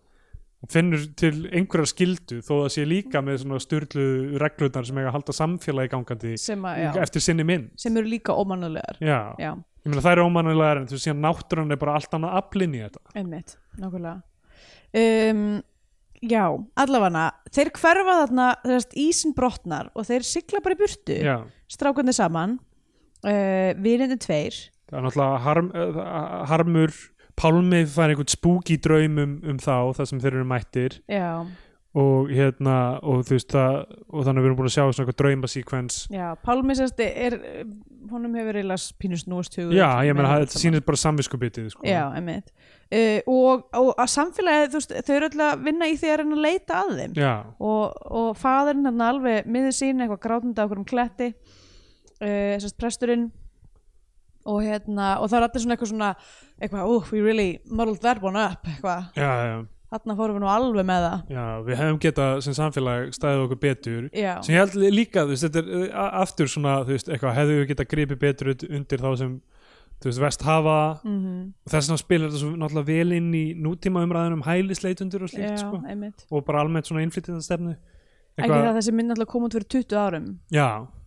finnur til einhverjar skildu þó það sé líka með svona styrlu reglurnar sem eiga að halda samfélagi gangandi sem, að, já, eftir sinni mynd sem eru líka ómannulegar já, já, ég meina það er ómannulegar en þú sé að náttúran er bara allt annað aflinn í þetta einmitt, nákvæmlega um, já, allavega þeir hverfa þarna, þeirrast ísin brotnar og þeir sigla bara í burtu já, strákarnir saman uh, vinninni tveir það er náttúrulega harm, eh, harmur Pálmi fær einhvern spúki draum um, um þá, það sem þeir eru mættir já, og hérna, og þú veist það og þannig að við erum búin að sjá svona eitthvað draumasíkvens já, Pálmi sérst er eh, honum hefur eiginlega pínu snúast hugur Já, ég meina, með það- þetta þetta saman. sýnir bara samviskubitið sko. já, einmitt uh, og, og að samfélagið, þú veist, þau eru öll að vinna í því að reyna að leita að þeim Já, og, og faðurinn hann alveg miður sín eitthvað grátandi á okkur um kletti uh, sérst presturinn og hérna, og það er allir svona eitthvað svona eitthvað, oh, we really muddled that one up eitthvað, já, já, þarna fórum við nú alveg með það já Við hefum getað sem samfélag staðið okkur betur já, sem ég held líka, þú veist, þetta er eh, a- aftur svona, þú veist, eitthvað, hefðu við getað gripið betur ut- undir þá sem, þú veist, vest hafa mm þess vegna spilar þetta svo náttúrulega vel inn í nútíma umræðunum hælisleitundur og já slíkt, sko einmitt og bara almennt svona innflytjandastefnu Ekki það að þessi mynd alltaf kom út fyrir 20 árum Já,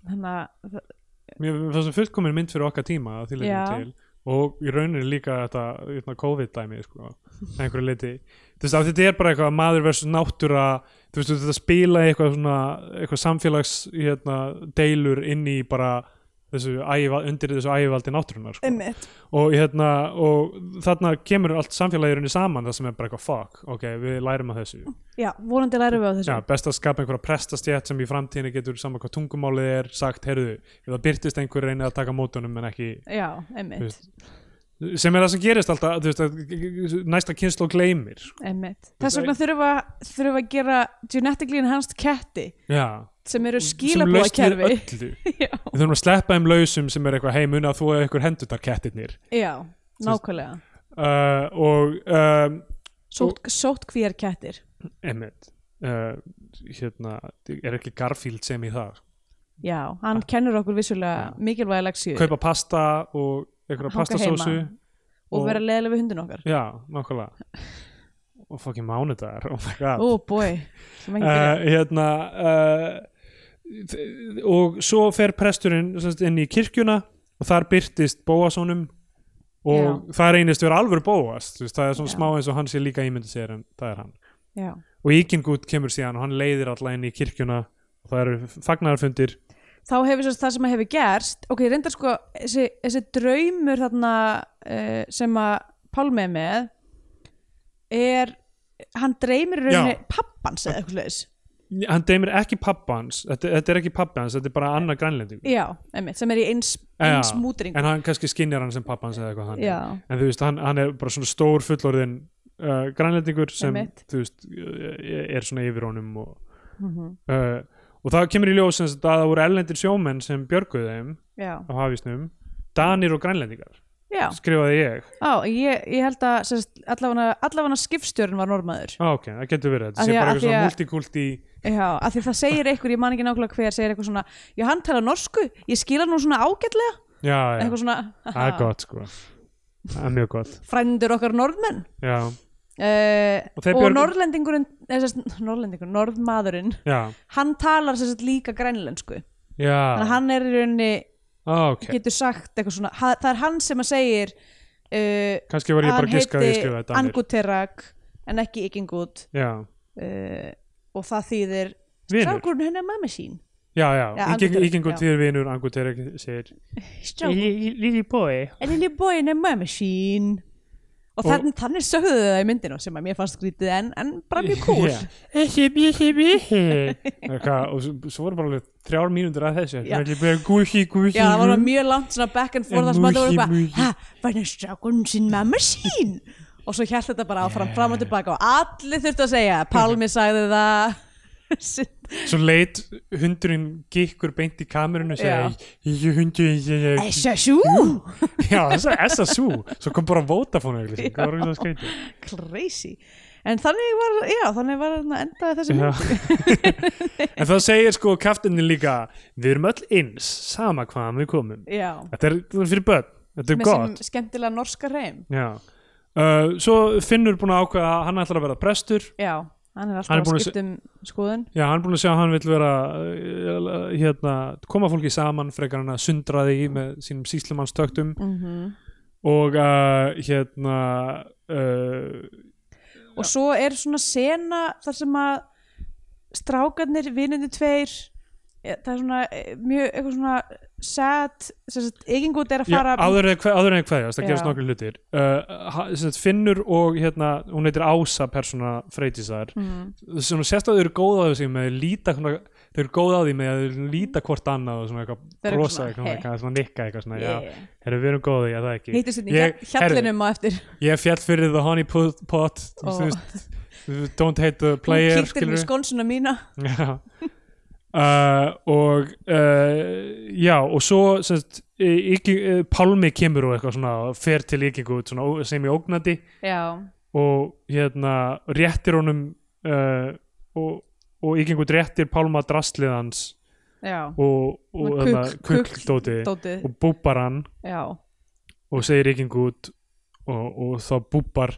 þannig að það- mér mér fannst það fullkomin mynd fyrir okkar tíma að því Já. leitum til og í rauninni líka þetta hérna, COVID-dæmi sko, að einhverju leiti þú veist, af því þetta er bara eitthvað maður versus náttúra þú veist, þetta spila í eitthvað svona eitthvað samfélags hérna, deilur inn í bara þessu æva, undir þessu ægivaldi náttúrunar sko. og, hérna, og þarna kemur allt samfélagirunni saman það sem er bara eitthvað fuck, ok, við lærum að þessu já, vonandi lærum við á þessu Já, best að skapa einhverja prestastjætt sem í framtíðinni getur saman hvað tungumálið er sagt, heyrðu, ef það byrtist einhver reynið að taka mótunum en ekki já, Þú einmitt, veist. sem er það sem gerist alltaf, þú veist, að næsta kynslu gleymir. sko. einmitt. þess vegna þurfa, þurfa að gera genetically enhanced ketti Já, sem eru sem laust við skílabóðakerfi öllu. já, Við þurfum að sleppa þeim lausum sem er eitthvað heimuna að þú eða ykkur hendutar kettirnir. já, nákvæmlega Uh, og, um, sótt, sótt kvíjar kettir emmitt, uh, hérna, er ekki Garfield sem í það? já, hann kennur okkur vissulega mikilvæga leksíu Kaupa pasta og einhverja Hanga pastasósu. heima. og vera leðilega við hundin okkar Já, nákvæmlega. og fucking mánudagar, oh my god. ó boi, sem ekki uh, byrja hérna uh, þ- og svo fer presturinn sem sagt, inn í kirkjuna og þar byrtist bóasónum og það reynist vera alvöru bóas þú veist, það er svona Já. smá eins og hann sé líka ímyndu sér en það er hann já. og Íkingút kemur síðan og hann leiðir alla inn í kirkjuna og það eru fagnarfundir þá hefur sérst það sem að hefur gerst ok, reyndar sko, þessi, þessi draumur þarna uh, sem að Pálmi er með er, hann dreymir í rauninni Já. pappans eða eitthvað leis hann deymir ekki pappans þetta, þetta er ekki pappans, þetta er bara annar grænlending já, einmitt, sem er í eins, Já. eins mútring en hann kannski skinjar hann sem pappans eða eitthvað þannig já, en þú veist, hann, hann er bara svona stór fullorðin uh, grænlendingur sem Einmitt. þú veist, eh, er svona yfir honum og, mm uh, og það kemur í ljós sem sagt að það voru erlendir sjómenn sem björguðu þeim já, á hafísnum Danir og grænlendingar, já. skrifaði ég Á, ég, ég held að sérst, allavega, allavega skipstjörn var normaður ah, ok, það getur verið, Af þetta sé því að- bara af eitthvað því svona að- multikulti já, af því það segir einhver, ég man ekki nákvæmlega hver segir eitthvað svona, já hann tala norsku ég skila nú svona ágætlega já, já, eitthvað svona, það er gott sko það er mjög gott, frændur okkar norðmenn já, Uh, Og og, þeir björg- norðlendingurinn eða sérst, norðlendingurinn, norðmaðurinn já, hann talar sérst líka grænlensku já þannig að hann er í rauninni ah, ok, getur sagt eitthvað svona ha, það er hann sem að segir uh, kannski var ég bara hann að giska að ég heiti skrifaði Danir Anguterak en ekki Ikingut já, uh, og það þýðir vinur, strákurinn henni er mamma sín já, já, Já, ígeng- Angutera, ígengur já. tíður vinur Angutera segir E Strákur, Lili bói en ég bóin er mömmu sín Og- og, þann, þannig sögðu þau það í myndinu sem að mér fannst skrítið en, en bara mjög cool Já. Þessi bísi bísi Eitthvað, og svo- svo voru bara alveg þrjár mínútur að þessu Já. Þetta er bara gúsi gúsi Já, það var mjög langt svona back and forth þar sem þetta voru Músi, eitthvað músi. Hæ, hvernig strákun sín mamma sín? Og svo hjælt þetta bara áfram, fram og tilbaka og allir þurftu að segja, Pálmi sagði það Sitt- Svo leit hundurinn gikkur beint í kamerunni og Já. segi Ég hundurinn segi Esja sjú Já, þess að SSU Svo kom bara Vodafone auðvitað Það var ekki það skrítið Crazy En þannig var, já, þannig var þarna endaði þessi mynd Já. en þá segir sko kaftinni líka við erum öll eins, sama hvaðan við komum Já, þetta er þetta er fyrir börn, þetta er með sem gott skemmtilega norska reym já. Uh, svo Finnur búin að ákveða að hann ætlar að vera prestur Já, hann er Hann er alltaf búinn að að skipta um skoðun já, hann er búin að segja að hann vil vera uh, hérna, koma fólki saman frekar hann að sundra því með sínum síslumannstöktum mm og uh, hérna uh, og svo er svona sena þar sem að strákarnir, vinnindi tveir e, það er svona e, mjög eitthvað svona sad sem sagt, eigingút er að já, fara áður en kve- áður en hverjast, það Já. gerast nokkur hlutir uh, ha- sem sagt, Finnur og hérna, hún heitir Ása persóna Freytisar Mhm. svona sérstaklega þau eru góð á þessu með að líta svona, þau eru góð á því með að þau líta hvort annað og svona Þau eitthvað eru brosa eitthvað eitthvað, svona, svona, eitthvað, svona nikka eitthvað svona, Yeah. já, herru við erum góð í að það ekki hittist hérna Ég- í hjallinum á eftir herru, ég fjall fyrir the honey pot, pot Ó. þú veist, don't hate the hún sko. player kýttir með skónsuna mína Já. Uh, og uh, já og svo sest, ekki, uh, Pálmi kemur og eitthvað svona og fer til ykingu svona, ó- sem í ógnandi já, og hérna réttir honum uh, og, og ykingu réttir Pálma drastlið hans já og, og Svona hérna, kukl- kukldóti dótið, og búbar hann já, og segir ykingu út og, og þá búbar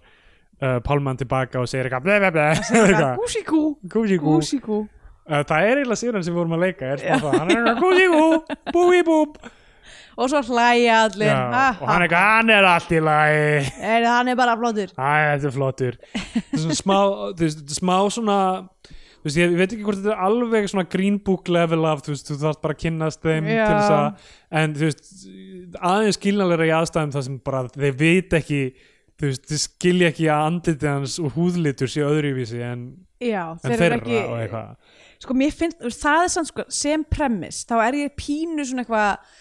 uh, Pálman tilbaka og segir eitthvað ble ble ble eitthvað, gúsíkú gúsi gú gúsíkú Uh, það er eiginlega síðan sem við vorum að leika er smá það, hann er eitthvað gúsi gú búi búb og svo hlæja allir Já, ha, og ha. hann er eitthvað, hann er allt í lagi Er, hann er bara flottur Æ, þetta er flottur Þetta er svona smá, þú veist, þetta er smá svona þú veist, ég veit ekki hvort þetta er alveg svona green book level af, þú veist, þú þarft bara að kynnast þeim Já. til þess að en þú veist, aðeins skiljanlega í aðstæðum þar sem bara þeir veit ekki þú veist, þeir skilja ekki að andliti hans og húðlitur sé öðruvísi en, já, en þeir þeirra eru ekki og eitthvað sko mér finnst, þú veist, það er sann sko sem premiss, þá er ég pínu svona eitthvað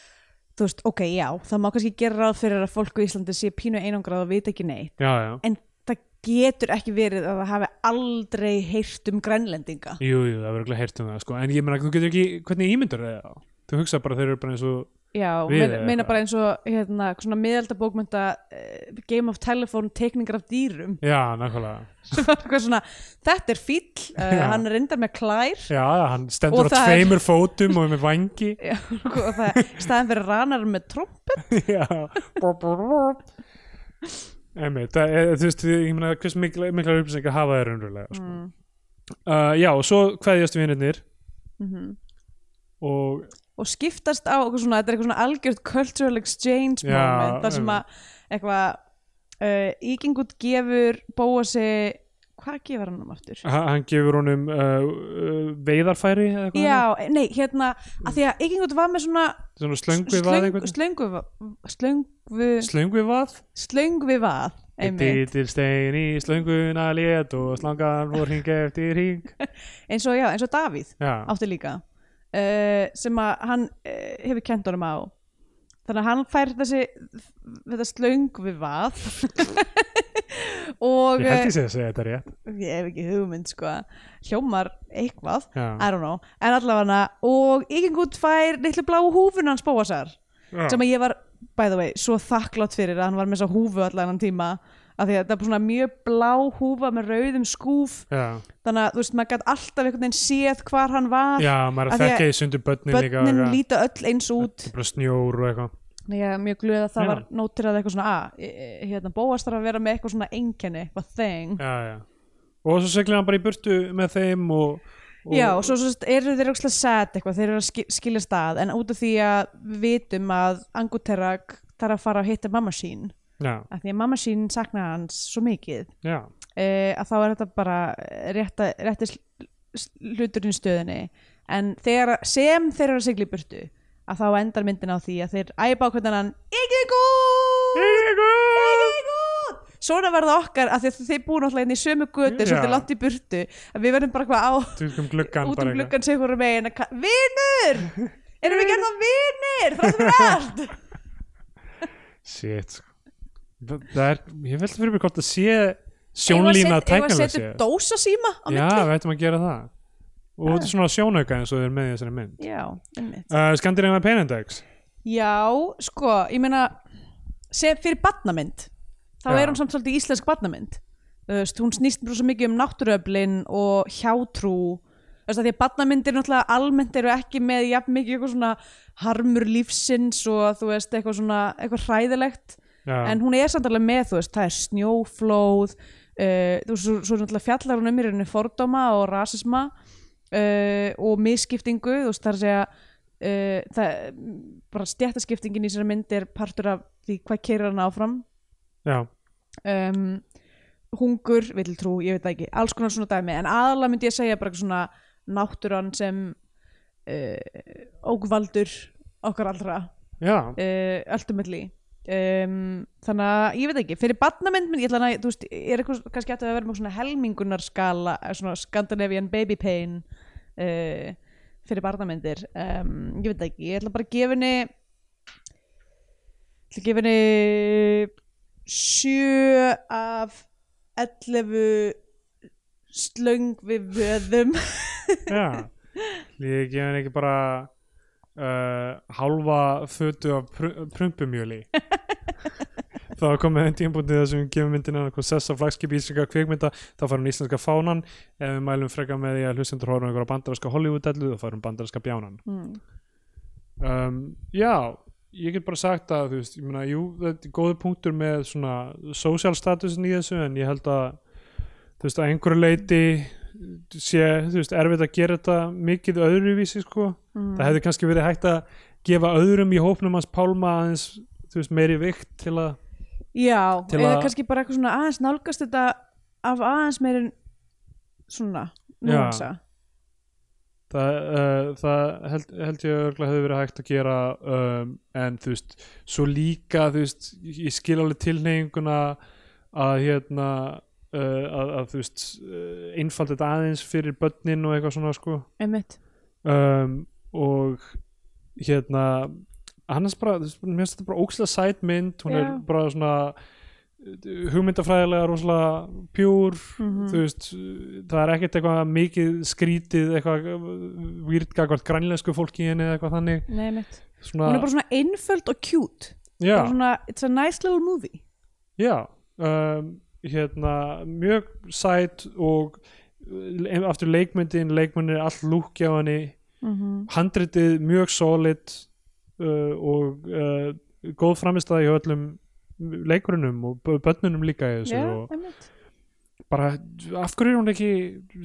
þú veist, ok, já, það má kannski gera ráð fyrir að fólk á Íslandi sé pínu einangrað og vita ekki neitt, Já, já, en það getur ekki verið að það hafi aldrei heyrt um grænlendinga jú, jú, það verður ekki heyrt um það sko. en ég meina, þú getur ekki, hvernig ímyndur það þá? þú hugsa bara þeir eru bara eins og já, Við meina, eða meina eitthvað. bara eins og hérna, svona miðalda bókmynda uh, Game of Telephone tekningar af dýrum já, nákvæmlega, Svo var eitthvað svona, þetta er fíll uh, Já. hann reyndar með klær já, já, hann stendur Og á það er- tveimur fótum og er með vangi Já, og það staðan fyrir ranar með tromp Já Emi, það, er- þú veist, ég meina hvers mikla, mikla upplýsingar hafa þér raunverulega sko. mm. uh, Já, og svo kveðjast vinirnir Mhm. og og skiptast á eitthvað svona, þetta er eitthvað svona algjört cultural exchange Já, moment þar sem að eitthvað uh, Ígingut gefur Bóasi hvað gefur hann um aftur? ha- hann gefur honum uh, uh, veiðarfæri eða eitthvað Já, nei, hérna að því að Ígingut var með svona Svona slöngu vað slöng, slöngu slöngu, Slöngu vað? slöngu við að einmitt, Dítil stein í slönguna lét og slangan voru hring eftir hring eins og, já, eins og Davíð Já, átti líka uh, sem að hann uh, hefur kent honum á þannig að hann fær þessi þetta slöng við vað og ég held ég sé að segja þetta rétt eh, ég hef ekki hugmynd sko hljómar eitthvað, I Já, don't know en allavega og Ígengút fær litlu blá húfun hans bóasar sem að ég var, by the way, svo þakklátt fyrir að hann var með þessa húfu allan hann tíma af því að það er svona mjög blá húfa með rauðum skúf já, þannig að þú veist, maður gæti alltaf einhvern veginn séð hvar hann var já maður er Af að því að þekka í sundu börnin líka og börnin eitthvað. líta öll eins út Þetta er bara snjór og eitthvað Þannig að ég er mjög glöð að það Já. var nótirað eitthvað svona að hérna, bóast þarf að vera með eitthvað svona einkenni, eitthvað þeng já, já. og svo seglir hann bara í burtu með þeim og, og Já, og svo, svo eru þeir eitthvað sad eitthvað, þeir eru að skil, skilja stað en út af því að við vitum að Anguterag þarf að fara að hitta mamma sín já, af því að mamma sín sakna hans svo mikið já, e, að þá er þetta bara rétta, rétti sl- s- hluturinn í stöðinni en þegar, sem þeir eru að sigla í burtu að þá endar myndin á því að þeir æpa á hvernig hann ekki gúð svona verða okkar að þið, þið búið náttúrulega inn í sömu götu Já. svolítið langt í burtu að við verðum bara eitthvað á Út um gluggan út bara um eitthvað. gluggan segur um megin að ka- vinur, erum við gerðan vinir þráttum við allt Shit sko. það það er, ég veldi fyrir mig hvort að sé sjónlína að tæknilega setja sé upp dósa síma á Já, milli við ættum að gera það og þetta er svona sjónauka eins og þeir eru með í þessari mynd já, einmitt uh, Skandinavia Penindex Já, sko, ég meina sem fyrir badnamynd þá Já. er hún samt svolítið íslensk badnamynd þú veist, hún snýst bara svo mikið um náttúruöflin og hjátrú þú veist að því að badnamyndir náttúrulega almennt eru ekki með jafn mikið eitthvað svona harmur lífsins og þú veist eitthvað svona eitthvað hræðilegt en hún er samt alveg með, þú veist, það er snjóflóð uh, þú veist, svo, svo náttúrulega fjallar hún um í rauninni fordóma og rasisma uh, og misskiptingu þú veist, það er að segja uh, það, bara stjættaskiptingin í sér mynd er partur af því hvað keirir hann áfram Já, um, hungur, villtrú, ég veit það ekki alls konar svona dæmi, en aðalega myndi ég segja bara eitthvað svona náttúran sem uh, ógvaldur okkar allra já, uh, ultimately um, þannig að ég veit ekki fyrir barnamynd, ég ætla að þú veist, er eitthvað kannski hægt að vera með svona helmingunarskala eh, svona Scandinavian baby pain uh, fyrir barnamyndir um, ég veit ekki, ég ætla bara að gefa henni ég ætla að gefa henni 7 af 11 slöng við vöðum já Ég gef henni ekki bara uh, hálfa fötu af pr prumpumjöli þá er komið enn tímpúndið þessum við gefum myndina hvað sessa flagskipi íslenska kvikmynda þá farum íslenska fánan ef við mælum freka með því að hlustendur horfum einhverja bandaræska Hollywood-dellu þá farum bandaræska bjánan mm. um, já ég get bara sagt að þú veist, ég meina, jú, þetta er góðu punktur með svona social statusin í þessu en ég held að þú veist, að einhverju leiti sé, þú veist, erfitt að gera þetta mikið öðruvísi, sko Mm. það hefði kannski verið hægt að gefa öðrum í hópnum hans pálma aðeins þú veist, meiri vikt til að Já, til eða að- kannski bara eitthvað svona aðeins nálgast þetta af aðeins meirin svona núansa. það, uh, það held, held ég örgulega hefði verið hægt að gera um, en þú veist, svo líka þú veist, ég skil alveg tilneyinguna að hérna uh, að, að þú veist uh, einfalda þetta aðeins fyrir börnin og eitthvað svona sko Einmitt. um, og hérna annars bara, þú veist, mér finnst þetta bara ókslega sæt mynd, hún er Já. bara svona uh, hugmyndafræðilega rosalega pjúr Mm þú veist, það er ekkert eitthvað mikið skrítið, eitthvað výrt gagvart grænlensku fólki í henni eða eitthvað þannig Nei, einmitt. svona, Hún er bara svona einföld og cute. já, Bara Svona, it's a nice little movie. já um, hérna, mjög sæt og uh, aftur leikmyndin, leikmyndin er allt lúkja á henni, Mm -hmm. handritið mjög solid uh, og uh, góð framistæði hjá öllum leikurunum og bö- börnunum líka í þessu Já, og einmitt. bara af hverju er hún ekki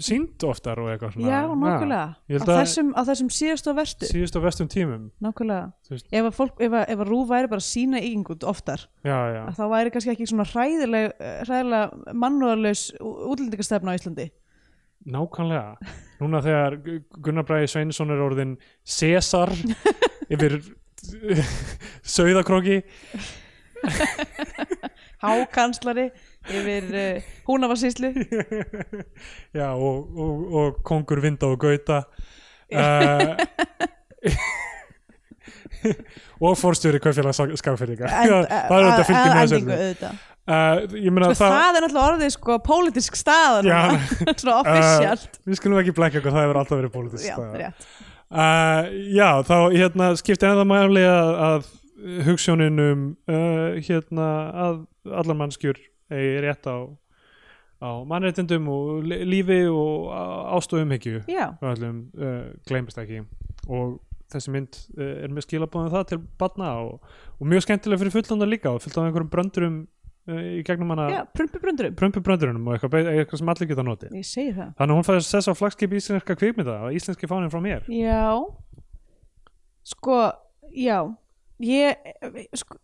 sínd oftar og eitthvað svona Já, nákvæmlega. Ég held Á að- þessum, á þessum síðast og verstu. síðust á vestum tímum Nákvæmlega. Þú veist. Ef að, fólk, ef, að, ef að Rú væri bara sína yngut oftar, já, já, að þá væri kannski ekki svona hræðileg, eh, hræðilega mannúðarlaus útlendingastefna á Íslandi. nákvæmlega núna þegar Gu- Gunnar Bræði Sveinsson er orðin César yfir Sauðakróki Hákanslari yfir uh, húnafarsýslu. já, og, og, og kongur Vinda og Gauta uh, og forstjóri Kaufélag Skagfyrringa End- það er þetta fylgjum með að- að þessu eh, endingu auðvitað. uh, ég meina Sko, það, er náttúrulega orðið sko pólitísk staðan Já, svona offisjalt eh, við skulum ekki blækja okkur, það hefur alltaf verið pólitisk Já, rétt Uh, já, þá hérna skipti ennþá mæli að, að hugssjóninum uh, hérna að allar mannskjur eigi rétt á, á mannréttindum og li- lífi og ástöðum hyggju Já, og öllum uh, gleymist ekki og þessi mynd uh, er með skilabóðum það til barna og, og mjög skemmtilega fyrir fullanda líka og fullt af einhverjum bröndurum uh, í gegnum já, hana prumpi bröndurum prömpubröndurunum og eitthvað, be- eitthvað sem allir geta notið Ég segi það Þannig að hún fæði sess á flagskip íslenska kvikmynda og íslenski fáninn frá mér Já Sko, já Ég, sko,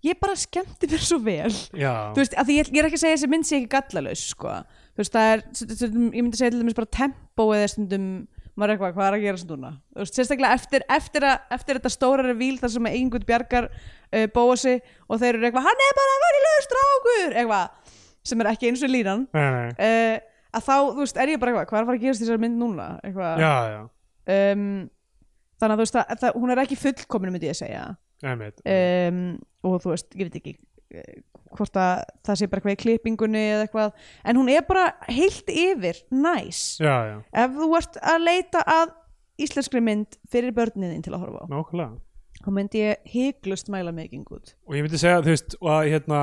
ég bara skemmti mér svo vel Já, Þú veist, af því ég, ég er ekki að segja að þessi mynd sé ekki gallalaus sko. þú veist það er stundum, ég myndi segja til dæmis bara tempo eða stundum maður er eitthvað hvað er að gera stunduna þú veist sérstaklega eftir, eftir, að, eftir þetta stóra revíl þar sem einhvern bjargar uh, bóasi og þeir eru eitthvað hann er bara vanilegur strákur eitthvað sem er ekki eins og línan nei, nei. uh, að þá þú veist er ég bara eitthvað hvað er að fara að gerast í þessari mynd núna eitthvað já, já, um, þannig að þú veist að, að hún er ekki fullkomin myndi ég segja einmitt um, og þú veist, ég veit ekki eh, hvort að það sé bara eitthvað í klippingunni eða eitthvað, en hún er bara heilt yfir, næs já, já, ef þú ert að leita að íslenskri mynd fyrir börniðin til að horfa á nákvæmlega þá myndi ég heiklust mæla mig ekki út og ég myndi segja, þú veist, og að hérna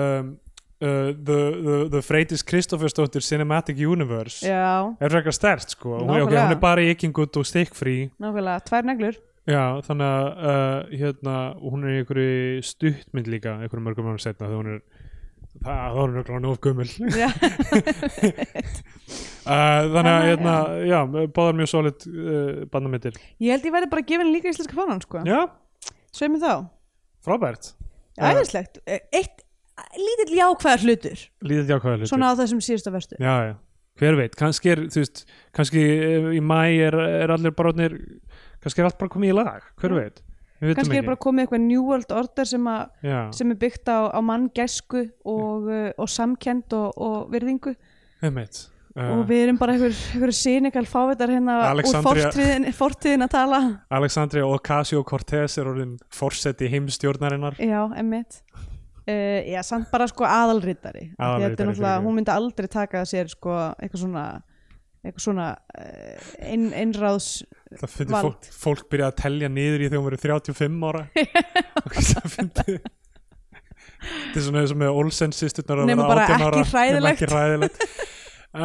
um, uh, the, the, the Freytis Kristoffersdóttir Cinematic Universe já, er frekar stert, sko hún, okay, Nákvæmlega. hún er bara í ykkingut og stikkfrí nákvæmlega, tvær neglur Já, þannig að uh, hérna, og hún er í einhverju stuttmynd líka einhverju mörgum árum setna þegar hún er það þá er hún glána of gummul uh, já, þannig að Þannig, hérna, já, báðar mjög solid uh, bandamyndir ég held ég verði bara að gefa henni líka íslenska fánan sko, Já, sveið mér þá frábært Já. æðislegt, E, eitt lítill jákvæðar hlutur, Lítið jákvæða hlutur svona á þessum síðustu verstu Já, já, hver veit, kannski er þú veist, kannski eh, í mæ er, er allir barónir, kannski er allt bara komið í lag hver veit, við veitum Mm. kannski er ekki bara komið eitthvað New World Order sem að Já, sem er byggt á, á manngæsku og, uh, og samkend og, og virðingu einmitt og uh, við erum bara einhver, einhver sínikal fávitar hérna úr Alexandria- fortíðin, fortíðin að tala Alexandria Ocasio-Cortez er orðin forseti heimstjórnarinnar já, emmitt uh, já, samt bara sko aðalritari Af því að þetta Aðalritari, er náttúrulega, fyrirgefðu. hún myndi aldrei taka að sér sko eitthvað svona eitthvað svona uh, ein, einráðs Það finnir Vald. fólk, fólk byrja að telja niður í þegar hún verið 35 ára og það finnir þetta er svona eins og með Olsen sýsturnar að Nema vera bara 18 ekki ára nema hræðilegt. ekki hræðilegt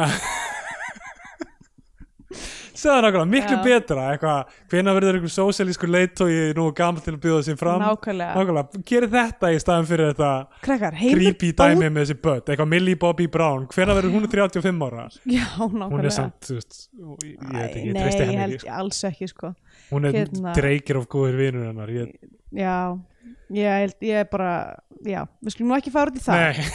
Segða nákvæmlega, miklu Já. betra eitthvað, hvena verður einhver sósialískur leittói nú gammal til að bjóða sér fram nákvæmlega nákvæmlega, gerir þetta í staðan fyrir þetta krakkar, heimur creepy dæmi með þessi börn, eitthvað Millie Bobby Brown hvena verður hún 35 ára já, hún nákvæmlega er samt, þú veist ég veit ekki, ég Æ, treysti nei, henni ég ekki held alls ekki sko hún er Hérna. dreikir of góður vinur hennar ég, Já, ég held, ég er bara já, við skulum nú ekki fara út í það nei,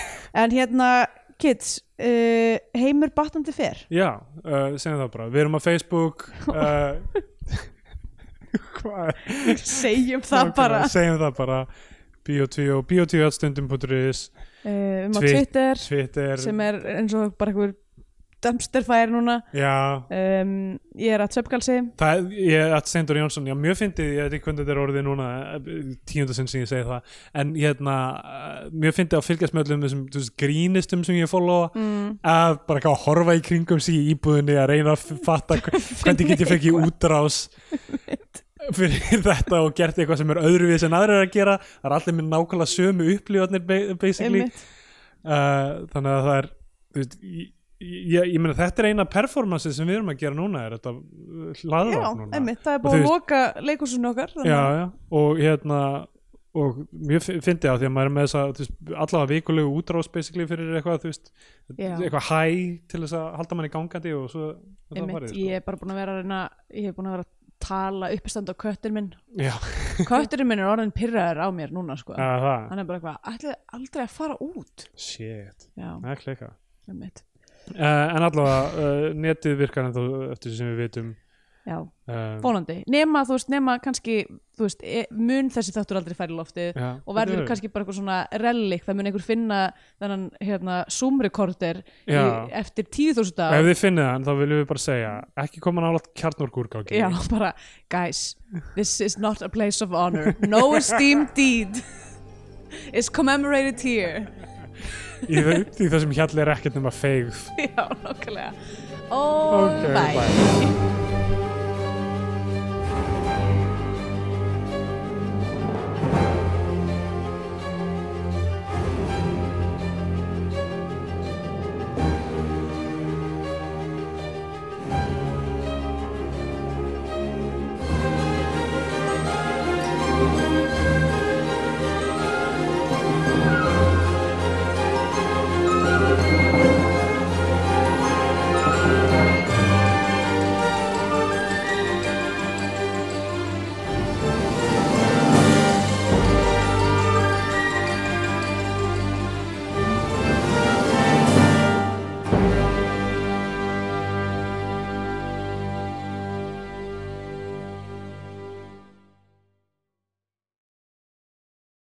en hérna, kids uh, heimur batnandi fer já, uh, segjum það bara við erum á Facebook uh, hvað er- segjum nákvæmlega, segjum það bara biotvíó, biotvíóatstundum.is uh, um á Twi- Twitter Twitter, sem er eins og bara einhver dumpster fire núna já um, ég er að söpkalsi Það, ég, að Steindor Jónsson, já, mjög fyndið, ég veit ekki hvernig þetta er orðið núna, tíundasinn sem ég segi það, en hérna, eh, mjög fyndið að fylgjast með öllum þessum þú veist, grínistum sem ég followa, mm. að bara eitthvað horfa í kringum sig í íbúðinni að reyna að f- fatta hv- hvernig get ég fengið útrás fyrir þetta og gert eitthvað sem er öðruvís en aðrir eru að gera, það er allir með nákvæmlega sömu upplifarnir ba- basically, einmitt uh, þannig að það er þú veist, ég, ég, ég meina þetta er eina performance sem við erum að gera núna er þetta uh, Já, hlaðvarp núna einmitt, það Og er búið þú að veist- loka leikúsinu okkar þannig já, að- já, og hérna og mjög fi- fyndi á því að maður er með þessa þú veist, allavega vikulegu útrás basically fyrir eitthvað, þú veist, Já. eitthvað hæ til þess að halda manni gangandi og svo er það einmitt, farið, sko. ég er bara búin að vera að reyna ég er búin að vera að tala uppistand á köttur minn Já, kötturinn minn er orðin pyrraður á mér núna sko. það er það, hann er bara eitthvað, ætlaði aldrei að fara út shit já, það er klika einmitt uh, en allavega, uh, netið virkar en eftir því sem við vitum já, uh, vonandi, nema þú veist, nema kannski þú veist, e- mun þessi þáttur aldrei færi loftið já, og verður þetta er- kannski bara eitthvað svona relik, það mun einhver finna þennan hérna, Zoom recorder í, Já. eftir 10.000 Og Ef dag þið finnið hann, þá viljum við bara segja ekki koma nálaðt kjarnorkúrgáki já, bara, guys this is not a place of honor no esteemed deed is commemorated here í, þe- í þessum hjall er ekkert nema feigð já, nokkulega og Ok, bye.